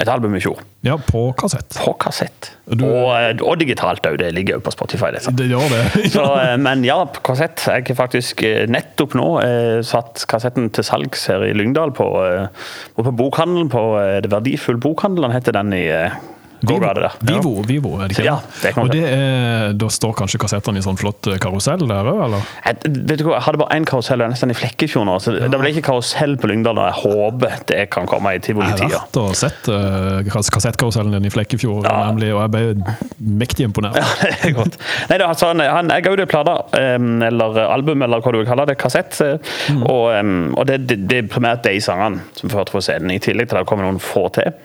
L: et album i fjor.
B: Ja, på kassett.
L: På kassett. Og, eh, og digitalt òg. Det ligger jo på Spotify. Det,
B: det gjør det.
L: Så, eh, men ja, på kassett. Jeg har faktisk eh, nettopp nå eh, satt kassetten til salgs her i Lyngdal på, eh, og på bokhandelen. På eh, Det verdifull bokhandel, den heter den i eh, gågata der.
B: Vivo, Vivo er det ikke?
L: Ja, det kan
B: og
L: man
B: det er, da står kanskje kassettene i sånn flott eh, karusell der òg, eller?
L: Jeg, vet du hva, jeg hadde bare én karusell, og jeg er nesten i Flekkefjord nå. Så det ble ikke karusell på Lyngdal, og jeg håper det kan komme i
B: Jeg har
L: tivolitida.
B: vært og sett eh, kas- kassettkarusellen din i Flekkefjord, nemlig, og jeg ble mektig imponert.
L: Det er godt. Nei, da, altså, han, han, jeg ga ut en plate, em, eller album, eller hva du vil kalle det, kassett. eh, Og, em, og det, det, det er primært de sangene som førte på scenen, i tillegg til at det kommer noen få til.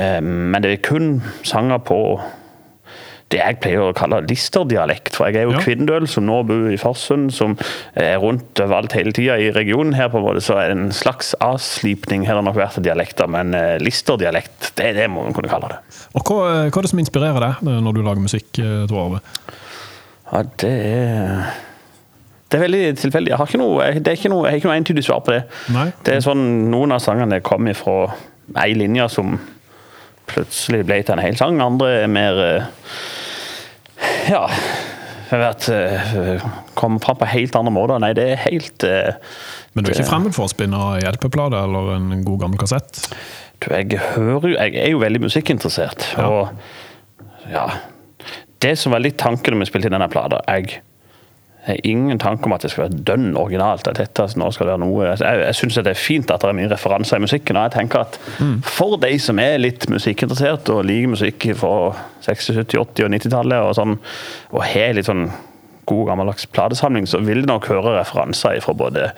L: Em, men det er kun sanger på det jeg pleier å kalle listerdialekt. For jeg er jo Kvindøl, som nå bor i Farsund, som er rundt overalt hele tida i regionen her, på en måte, så er det en slags avslipning her har nok vært av dialekter, men eh, listerdialekt, det, det må man kunne kalle det.
B: Og hva, eh, hva er det som inspirerer deg eh, når du lager musikk, eh, Tor Arve?
L: Ja, det er Det er veldig tilfeldig. Jeg har ikke noe, jeg, det er ikke noe, jeg har ikke noe entydig svar på det.
B: Nei.
L: Det er sånn, Noen av sangene kom fra ei linje som plutselig ble til en hel sang. Andre er mer eh, Ja jeg vet, eh, Kommer fram på helt andre måter. Nei, det er helt eh,
B: Men du er
L: det-
B: ikke fremmed for å spinne hjelpeplate eller en god gammel kassett?
L: Du, jeg hører jo Jeg er jo veldig musikkinteressert. Og ja Det som var litt tanken da vi spilte inn denne plata Jeg har ingen tanke om at det skal være dønn originalt. At dette nå skal være noe Jeg, jeg syns det er fint at det er mye referanser i musikken. Og jeg tenker at for de som er litt musikkinteressert og liker musikk fra 60-, 70-, 80- og 90-tallet, og sånn, og har litt sånn god gammeldags platesamling, så vil de nok høre referanser fra både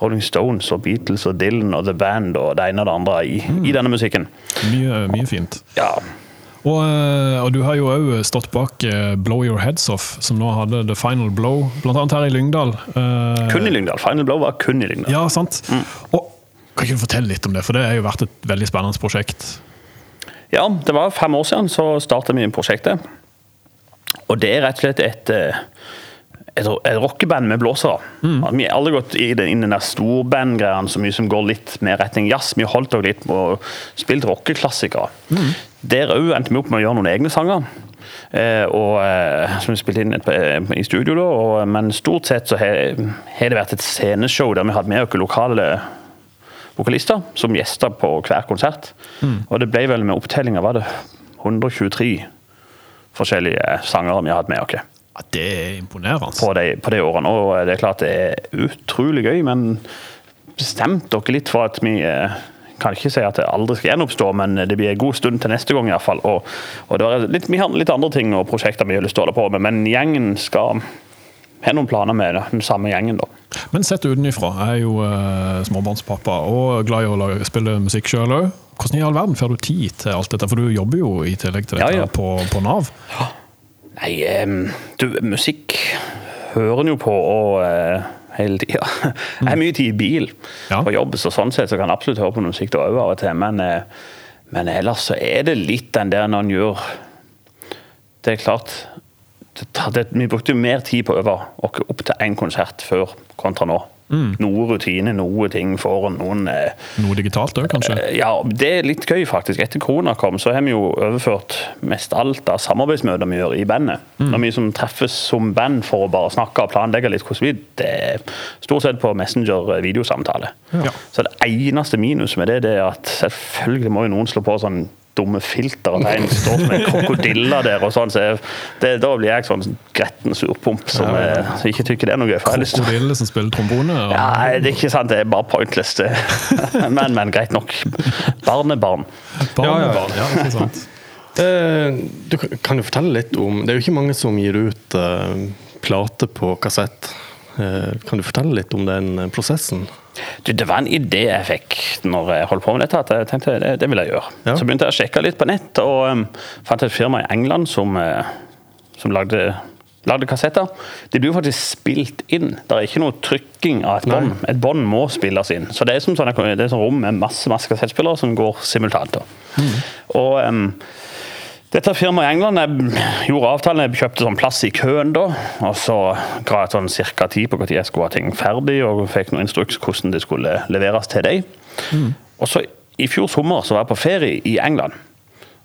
L: Rolling Stones og Beatles og Dylan og The Band og det ene og det andre i, i denne musikken.
B: Mye, mye fint.
L: Ja.
B: Og, eh, og du har jo òg stått bak eh, Blow Your Heads Off, som nå hadde The Final Blow, blant annet her i Lyngdal. Eh,
L: Kun i Lyngdal. Final Blow var kun i Lyngdal. Mm.
B: Ja, sant. Og kan ikke du fortelle litt om det, for det har jo vært et veldig spennende prosjekt.
L: Ja, det var fem år siden så startet vi prosjektet. Og det er rett og slett et, eh, et, et rockeband med blåsere. At Vi har aldri gått i den, inn i den der storbandgreien så mye som går litt mer retning jazz. Vi har holdt oss litt med å spille rockeklassikere. Der òg endte vi opp med å gjøre noen egne sanger. Eh, og, eh, som vi spilte inn et, eh, i studio, da. Og, men stort sett så har har det vært et sceneshow der vi hadde med oss lokale vokalister som gjester på hver konsert. Og det ble vel med opptellinga, var det 123 forskjellige sangere vi har hatt med oss.
B: det er imponerende.
L: På de, på de årene. Og eh, det er klart det er utrolig gøy, men bestemt dere litt for at vi eh, kan ikke si at det aldri skal gjenoppstå, men det blir en god stund til neste gang iallfall. Og, og det er litt, vi har litt andre ting og prosjekter vi har lyst til å holde på med, men gjengen skal har noen planer med den samme gjengen, da.
B: Men sett utenfra, jeg er jo eh, småbarnspappa og glad i å lage- spille musikk sjøl òg. Hvordan i all verden får du tid til alt dette, for du jobber jo i tillegg til dette
L: Ja, ja.
B: På, på Nav?
L: Nei, em, du, musikk hører en jo på og eh, hele tida. Jeg har mye tid i bil på jobb, så sånn sett så kan jeg absolutt høre på noe musikk da òg av og til. Men, eh, men ellers så er det litt den der når en gjør Det er klart det, tar- det, Vi brukte jo mer tid på å øve oss opp til én konsert før kontra nå. Noe rutine, noe ting foran noen eh,
B: Noe digitalt òg, kanskje?
L: Eh, Ja, det er litt gøy faktisk. Etter korona kom, så har vi jo overført mest alt av samarbeidsmøter vi gjør i bandet. Når vi som treffes som band for å bare snakke og planlegge litt hvordan vi Det er stort sett på Messenger-videosamtale.
B: Ja.
L: Så det eneste minuset med det, det er at selvfølgelig må jo noen slå på sånn dumme filter og tegn står som en krokodille der og sånn, så jeg, det, da blir jeg sånn gretten surpomp som,
B: Ja, ja, ja.
L: eh, som ikke tykker det er noe gøy. for jeg har lyst til å-
B: Krokodille som spiller trombone? og-
L: ja, nei, det er ikke sant. Det er bare pointless. det. men, men greit nok. Barn er barn.
B: Barnebarn, ja, ikke sant.
A: Eh, Du kan- kan jo fortelle litt om Det er jo ikke mange som gir ut eh, plate på kassett. Eh, Kan du fortelle litt om den eh, prosessen?
L: Du, det var en idé jeg fikk når jeg holdt på med dette, at jeg tenkte det, det vil jeg gjøre. Så begynte jeg å sjekke litt på nett, og um, fant et firma i England som, eh, som lagde, lagde kassetter. De blir jo faktisk spilt inn. Det er ikke noe trykking av et bånd. Et bånd må spilles inn. Så det er som sånne, det er sånn rom med masse, masse kassettspillere som går simultant. da. Og em, dette firmaet i England jeg gjorde avtalen. Jeg kjøpte sånn plass i køen da. Og så ga jeg sånn cirka tid på når jeg skulle ha ting ferdig, og fikk noen instruks hvordan det skulle leveres til deg. Og så I fjor sommer så var jeg på ferie i England.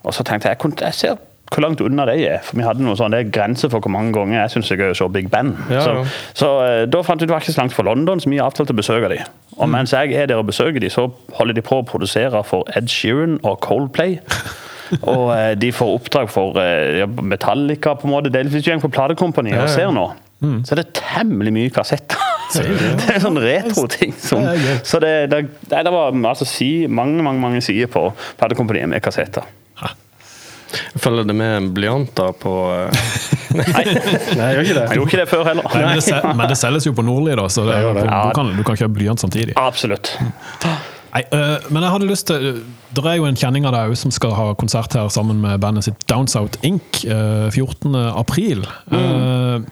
L: Og så tenkte jeg jeg, kunne, jeg ser hvor langt unna de er. For vi hadde noe sånn, det er grenser for hvor mange ganger jeg syns det er gøy å se Big Band.
A: Ja,
L: så,
A: ja.
L: så eh, da fant vi ut det var ikke så langt fra London, så vi avtalte å besøke dem. Og mens jeg er der og besøker dem, så holder de på å produsere for Ed Sheeran og Coldplay. og eh, de får oppdrag for eh, ja, Metallica, på en måte. Delvis gjeng på platekompani
A: Ja, ja.
L: og ser nå. Så det er temmelig mye kassetter. det er sånn retro-ting som
A: Det er gøy.
L: Så det, det, nei, det var altså, si, mange, mange, mange sider på platekompaniet med kassetter.
A: eh, Følger det med blyanter på eh, Nei, jeg gjør ikke det.
L: Jeg gjorde ikke det før heller.
B: Nei, men, det sel, men det selges jo på Nordli, da, så det, er jo-
L: Ja.
B: du, kan, du kan kjøpe blyant samtidig.
L: Absolutt.
B: Nei, øh, men jeg hadde lyst til Det er jo en kjenning av deg også som skal ha konsert her sammen med bandet sitt Down South Inc. øh, 14. april. Eh,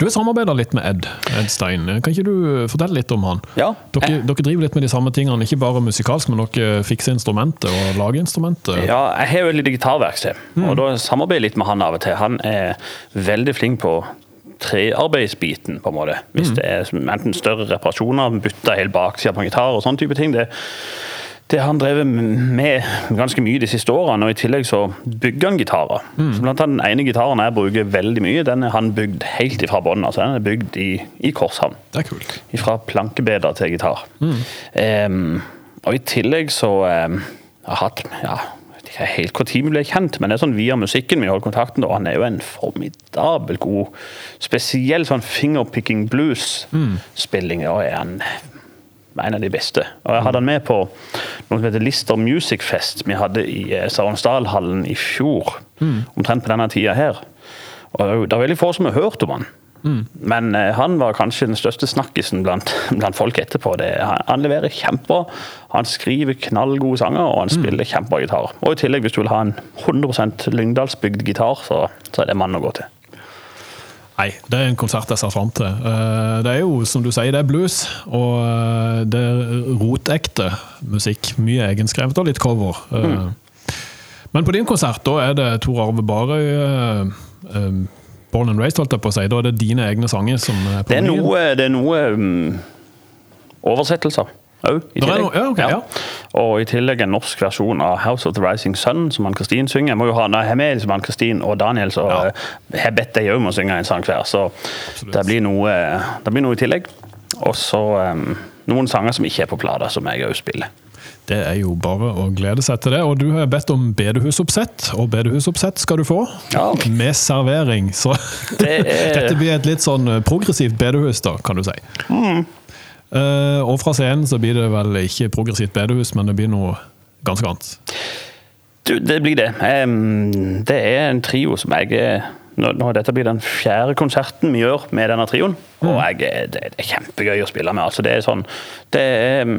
B: du har samarbeida litt med Ed Edstein. Kan ikke du fortelle litt om han?
L: Ja.
B: Dere, dere driver litt med de samme tingene, ikke bare musikalsk, men dere fikser instrumentet og lager instrumentet.
L: Ja, jeg har jo et lite gitarverksted,
B: Mm.
L: og da samarbeider jeg litt med han av og til. Han er veldig flink på trearbeidsbiten, på en måte.
B: Mm.
L: Hvis det er som- enten større reparasjoner, bytte hele baksida på en gitar og sånne type ting. Det, det har han drevet med ganske mye de siste årene, og i tillegg så bygger han gitarer. Så blant annet den ene gitaren jeg bruker veldig mye, den er han bygd helt ifra bånn. Altså, den er bygd i, i Korshavn.
B: Det er kult.
L: Fra plankebeder til gitar. Ehm, og i tillegg så ehm, jeg har hatt, ja, jeg vet ikke helt hvor tid vi ble kjent, men det er sånn via musikken vi holder kontakten, og han er jo en formidabel god, spesiell sånn fingerpicking blues-spilling, og er han en av de beste. Og jeg hadde han med på noe som heter Lister Music Fest vi hadde i eh, Saronsdalhallen i fjor, omtrent på denne tida her. Og det er jo- det er veldig få som har hørt om han. Men eh, han var kanskje den største snakkisen blant, blant folk etterpå. Det, han, han leverer kjempebra, han skriver knallgode sanger, og
B: Mm.
L: han spiller kjempebra gitar. Og i tillegg, hvis du vil ha en 100 lyngdalsbygd gitar, så, så er det mannen å gå til.
B: Nei, det er en konsert jeg ser fram til. Eh, Det er jo, som du sier, det er blues, og eh, det er rotekte musikk. Mye egenskrevet og litt cover. Eh,
L: Mm.
B: Men på din konsert, da er det Tor Arve Barøy eh, eh, born and raised, holdt jeg på å si. Da er det dine egne sanger som er på
L: Det er
B: menyen.
L: noe, det er noe mm, oversettelser òg, i
B: Det er
L: tillegg.
B: noe- ja, ok, ja.
L: Og i tillegg en norsk versjon av House of the Rising Sun, som Ann-Kristin synger. Jeg må jo ha nei, her med liksom Ann-Kristin og Daniel, så eh, jeg bedt de òg om å synge en sang hver. Så det blir, noe, eh, det blir noe i tillegg. Og så eh, noen sanger som ikke er på plata, som jeg òg spiller.
B: Det er jo bare å glede seg til det. Og du har bedt om bedehusoppsett, og bedehusoppsett skal du få. Med servering. Så
L: Det er-
B: dette blir et litt sånn progressivt bedehus, da, kan du si.
L: Mm.
B: Eh, og fra scenen så blir det vel ikke progressivt bedehus, men det blir noe ganske annet.
L: Du, det blir det. Em, det er en trio som jeg er nå, nå, Dette blir den fjerde konserten vi gjør med denne trioen. Og jeg, er- det er kjempegøy å spille med. Altså, det er sånn Det er em,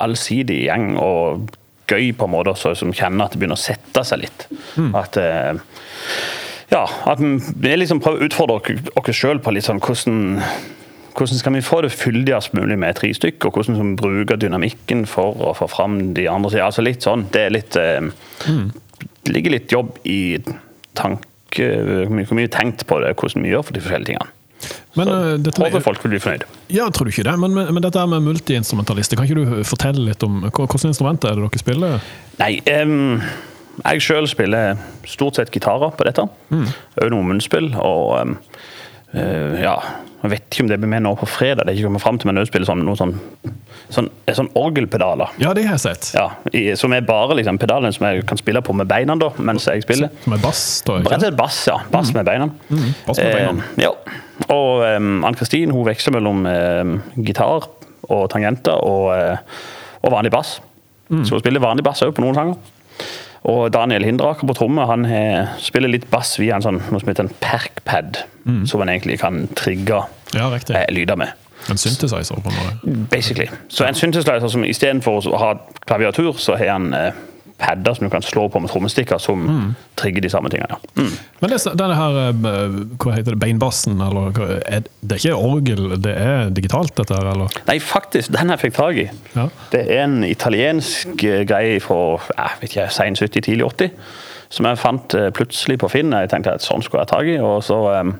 L: allsidig gjeng og gøy på en måte også, som kjenner at det begynner å sette seg litt. At eh, ja, at vi liksom prøver å utfordre oss sjøl på litt sånn hvordan hvordan skal vi få det fyldigst mulig med tre stykk, og hvordan skal vi bruke dynamikken for å få fram de andre sidene. Altså litt sånn, det er litt eh, Det ligger litt jobb i tanke Hvor mye hvor mye tenkt på det, hvordan vi gjør for de forskjellige tingene.
B: Men, eh, dette,
L: Håper folk vil bli fornøyd.
B: ja, tror du ikke det? Men, men, men dette her med multiinstrumentalister, kan ikke du eh, fortelle litt om hvilke instrumenter er det dere spiller?
L: Nei, em, jeg sjøl spiller stort sett gitarer på dette.
B: Mm.
L: Også noe munnspill. Og em, eh, ja Jeg vet ikke om det blir med nå på fredag, det er ikke kommet fram til, men jeg spiller sånn, noe sånn, sånn, eh, sånn orgelpedaler.
B: Ja, det har jeg sett.
L: Ja, i, som er bare liksom, pedalene som jeg kan spille på med beina da, mens jeg spiller.
B: Med bass, da?
L: Rett og slett bass, ja. Bass med beina.
B: Mm, bass med beina.
L: Eh, ja. Og em, Ann-Kristin hun veksler mellom em, gitar og tangenter og, eh, og vanlig bass.
B: Mm.
L: Så hun spiller vanlig bass òg på noen sanger. Og Daniel Hindraker på tromme han eh, spiller litt bass via en sånn, noe som heter en perkpad, som man egentlig kan trigge
B: Mm. Ja, Mm. riktig.
L: eh, lyder med.
B: En synthesizer, på en måte?
L: Basically. Så en synthesizer som istedenfor å ha klaviatur, så har han eh, padder som du kan slå på med trommestikker, som
B: Mm.
L: trigger de samme tingene. Ja. Mm.
B: Men det, denne her, eh, hva heter det, beinbassen, eller hva- er, det er ikke orgel, det er digitalt dette her, eller?
L: Nei, faktisk, den jeg fikk tak i. Det er en italiensk eh, greie fra jeg vet ikke, sen 70, tidlig 80, som jeg fant eh, plutselig på Finn. Jeg tenkte at sånn skulle jeg ha tak i, og så em,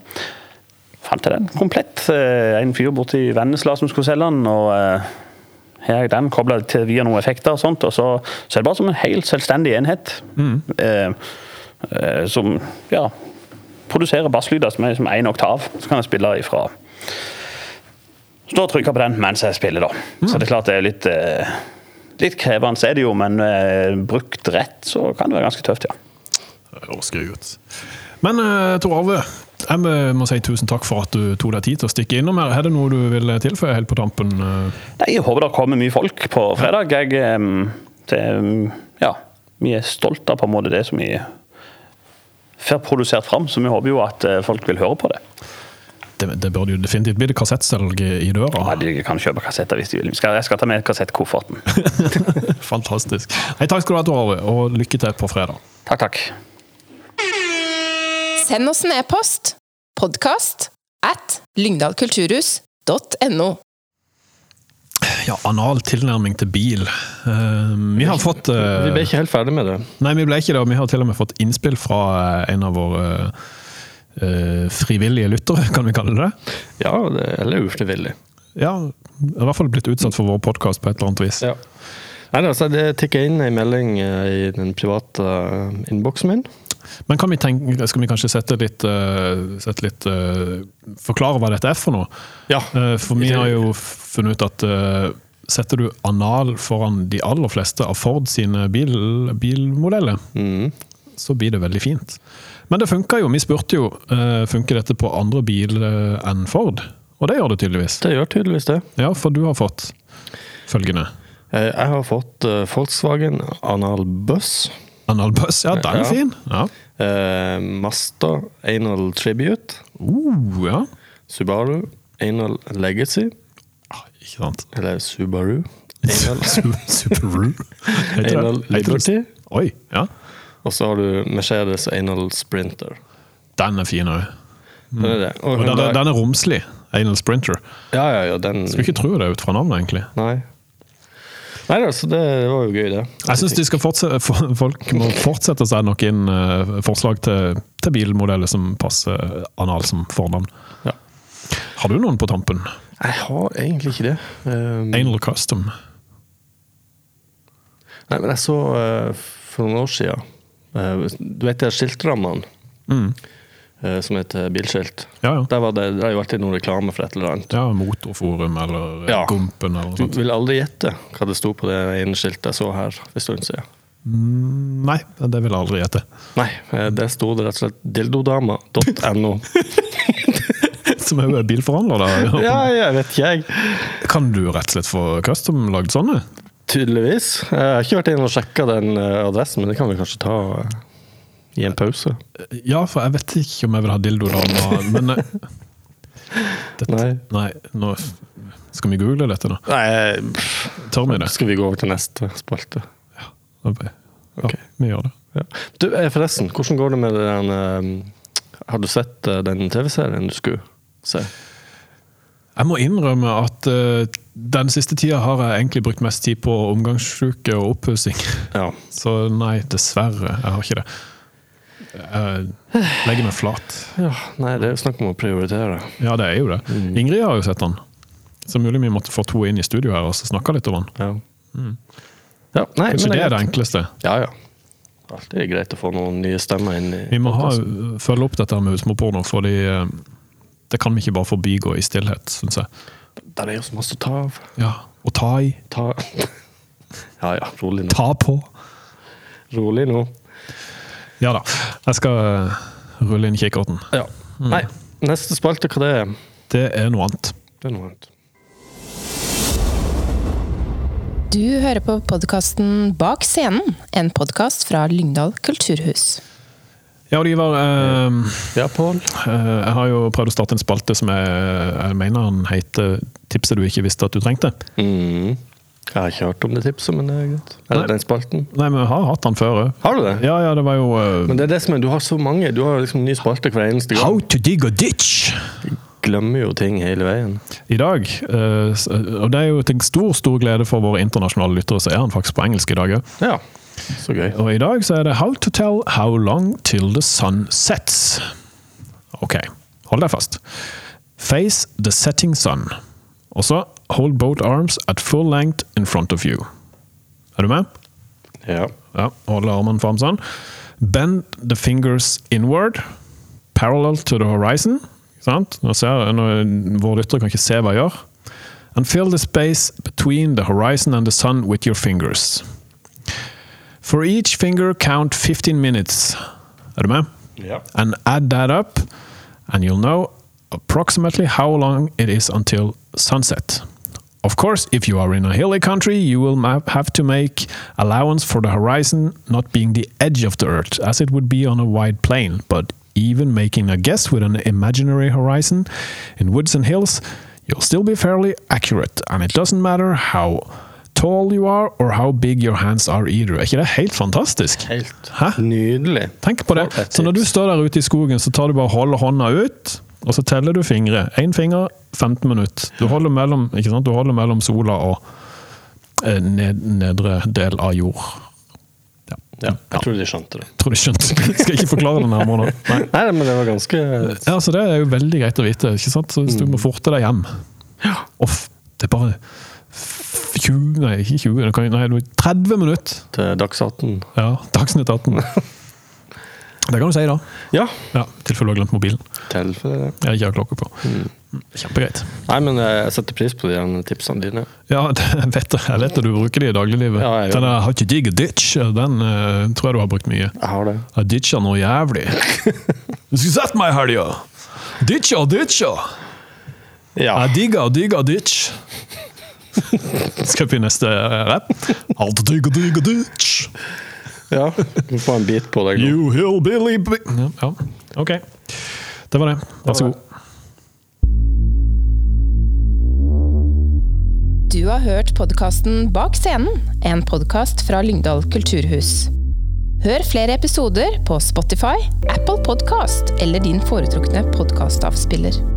L: fant jeg den komplett. Eh, En fyr borti Vennesla som skulle selge den, og eh, her er den kobla til via noen effekter og sånt, og så, så er det bare som en helt selvstendig enhet. eh, eh, som ja, produserer basslyder som er som én oktav. Så kan jeg spille ifra Stå og trykke på den mens jeg spiller, da. Så det er klart det er litt, eh, litt krevende, er det jo, men eh, brukt rett så kan det være ganske tøft, ja.
B: Det høres gøy ut. Men eh, Tor Arve, jeg må- må si tusen takk for at du tok deg tid til å stikke innom her. Er det noe du vil tilføye helt på tampen? eh?
L: Nei, jeg håper det kommer mye folk på fredag. Jeg, em, det, em, ja, vi er stolte av på en måte det som vi får produsert fram, så vi håper jo at eh, folk vil høre på det.
B: Det, det burde jo definitivt bli det kassettselg i døra.
L: Ja, de kan kjøpe kassetter hvis de vil. Vi skal- Jeg skal ta med kassettkofferten.
B: Fantastisk. Nei, takk skal du ha, Tor Arve, og lykke til på fredag.
L: Takk, takk.
D: Send oss en e-post podcast at lyngdalkulturhus.no.
B: Ja, anal tilnærming til bil. Eh, vi har fått eh,
A: Vi ble ikke helt ferdig med det.
B: Nei, vi ble ikke det. og Vi har til og med fått innspill fra eh, en av våre eh, frivillige lyttere, kan vi kalle det.
A: Ja, det, eller ufrivillig.
B: Ja, i hvert fall blitt utsatt for vår podkast på et eller annet vis.
A: Ja. Nei, altså, det tikket inn en melding eh, i den private eh, innboksen min.
B: Men kan vi tenke, skal vi kanskje sette litt, eh, sette litt eh, Forklare hva dette er for noe?
A: Ja.
B: Eh, for vi har jo funnet ut at eh, Setter du anal foran de aller fleste av Ford sine bil, bilmodeller, så blir det veldig fint. Men det funka jo. Vi spurte jo uh, funker dette på andre biler enn Ford. Og det gjør det tydeligvis.
A: Det gjør tydeligvis det.
B: Ja, for du har fått følgende.
A: Eh, Jeg har fått eh, Volkswagen Analbuss.
B: Analbuss, ja, den er fin.
A: Eh, Mazda Anal Tribute.
B: Uh, ja.
A: Subaru Anal Legacy.
B: Ah, Ikke sant.
A: Eller Subaru.
B: Subaru. Heter det-
A: Anal
B: heter det-
A: Liberty.
B: Oi, ja.
A: Og så har du Mercedes Anal Sprinter.
B: Den er fin òg.
A: Den er det.
B: Mm. Og den, er- den er romslig. Anal Sprinter.
A: Ja, ja, ja, den...
B: Skulle ikke tro det ut fra navnet, egentlig.
A: Nei. Nei da, så det var jo gøy, det.
B: Jeg syns de skal fortsette, for- folk må fortsette å sende noen eh, forslag til, til bilmodeller som passer anal som fornavn. Har du noen på tampen?
A: Jeg har egentlig ikke det. Um,
B: Anal Custom.
A: Nei, men jeg så eh, for noen år siden eh, Du vet de skiltrammene
B: Mm.
A: eh, som heter bilskilt?
B: Ja,
A: Der var det, det er jo alltid noen reklame for et eller annet.
B: Ja, Motorforum eller eh,
A: Ja.
B: Gumpen eller noe
A: Du
B: sånt.
A: vil aldri gjette hva det sto på det ene skiltet jeg så her for en stund siden.
B: Mm, Nei, det vil jeg aldri gjette.
A: Nei, eh, der sto det rett og slett dildodama.no.
B: Som er jo en bilforhandler, da.
A: ja, jeg vet ikke, jeg.
B: Kan du rett og slett få custom lagd sånne?
A: Tydeligvis. Eh, Jeg har ikke vært inne og sjekka den eh, adressen, men det kan vi kanskje ta eh, i en pause.
B: Ja, for jeg vet ikke om jeg vil ha dildodama, men eh, dette, nei. nå Skal vi google dette, da?
A: Nei, eh,
B: Tør vi det?
A: Skal vi gå over til neste spalte?
B: Ja, vi gjør det.
A: Du, eh, forresten, hvordan går det med den eh, Har du sett eh, den TV-serien du skulle se?
B: Jeg må innrømme at eh, den siste tida har jeg egentlig brukt mest tid på omgangssjuke og oppussing. Så nei, dessverre. Jeg har ikke det. Jeg legger meg flat.
A: Ja, nei, det er jo snakk om å prioritere.
B: Ja, det er jo det. Ingrid har jo sett den. Så mulig vi måtte få to inn i studio her og så snakke litt om den.
A: Ja.
B: Mm.
A: Ja, nei,
B: Kanskje
A: men
B: det er det
A: greit.
B: enkleste.
A: Ja, ja. Alltid er greit å få noen nye stemmer inn i
B: Vi må ha,
A: podcasten.
B: følge opp dette her med husmorporno, fordi eh, det kan vi ikke bare forbigå i stillhet, syns jeg.
A: Der er jo så masse å ta av.
B: Ja, Å ta i.
A: Ta Ja ja, rolig nå.
B: Ta på.
A: Rolig nå.
B: Ja da. Jeg skal eh, rulle inn kikkerten.
A: Ja.
B: Mm.
A: Nei, neste spalte, hva det er?
B: Det er noe annet.
A: Det er noe annet.
D: Du hører på podkasten Bak scenen, en podkast fra Lyngdal kulturhus.
B: Ja, og Ivar. Eh, Eh, jeg har jo prøvd å starte en spalte som jeg, jeg mener han heter 'Tipset du ikke visste at du trengte'.
A: Mm. Jeg har ikke hørt om det tipset, men det er greit. Er
B: Nei.
A: det den spalten?
B: Nei, men jeg har hatt han før òg.
A: Har du det?
B: Ja, ja, det var jo eh,
A: Men det er det som er, du har så mange. Du har liksom ny spalte hver eneste gang.
B: How to dig a ditch!
A: Glemmer jo ting hele veien.
B: I dag, eh, s- og det er jo til stor stor glede for våre internasjonale lyttere, så er han faktisk på engelsk i dag òg.
A: Ja. Så gøy.
B: Og i dag så er det 'How to tell how long till the sun sets'. Ok, hold deg fast. Face the setting sun. Og så hold both arms at full length in front of you. Er du med?
A: Ja.
B: ja hold armen fram sånn. Bend the fingers inward, parallel to the horizon. Ikke Sant? Nå ser, nå, våre lyttere kan ikke se hva jeg gjør. And fill the space between the horizon and the sun with your fingers. For each finger, count 15 minutes. Er du med?
A: Ja.
B: And add that up, and you'll know approximately how long it is until sunset. Of course, if you are in a hilly country, you will ma- have to make allowance for the horizon not being the edge of the earth, as it would be on a wide plain. But even making a guess with an imaginary horizon in woods and hills, you'll still be fairly accurate. And it doesn't matter how tall you are or how big your hands are either. Er ikke det helt fantastisk?
A: Helt
B: Hæ?
A: nydelig.
B: Tenk på det. Så når du står der ute i skogen, så tar du bare og holder hånda ut, og så teller du fingre. Én finger, 15 minutter. Du holder mellom, ikke sant? Du holder mellom sola og eh, ned, nedre del av jord.
A: Ja, jeg tror de skjønte det.
B: Tror du skjønte? Skal jeg ikke forklare det nærmere nå. Nei.
A: Nei, men det var ganske
B: Ja, så det er jo veldig greit å vite, ikke sant? Så hvis du må forte deg hjem Off, det er bare f- 20, nei, ikke 20, det kan, nei, det er 30 minutter.
A: Til Dagsnytt 18.
B: Ja, Dagsnytt 18. Det kan du si, da.
A: Ja.
B: ja I tilfelle du har glemt mobilen.
A: Tilfelle.
B: Jeg har ikke har klokke på.
A: Mm.
B: Kjempegreit.
A: Nei, men eh, jeg setter pris på de her tipsene dine.
B: Ja, det- jeg vet det. Jeg vet at du bruker de i dagliglivet.
A: Ja, jeg gjør
B: den eh, der 'How to dig a ditch', den eh, tror jeg du har brukt mye. Jeg
A: har det.
B: Jeg ditcha noe jævlig. Du skulle sett meg i helga! Ditcha, ditcha! Jeg digga, digga, ditch. Skal vi neste eh, rap? How to dig a dig a ditch.
A: Ja, du får en bit på deg nå.
B: You hillbilly bi- ja, ja, ok. Det var det. Vær så god.
D: Du har hørt podkasten Bak scenen, en podkast fra Lyngdal kulturhus. Hør flere episoder på Spotify, Apple Podcast eller din foretrukne podkastavspiller.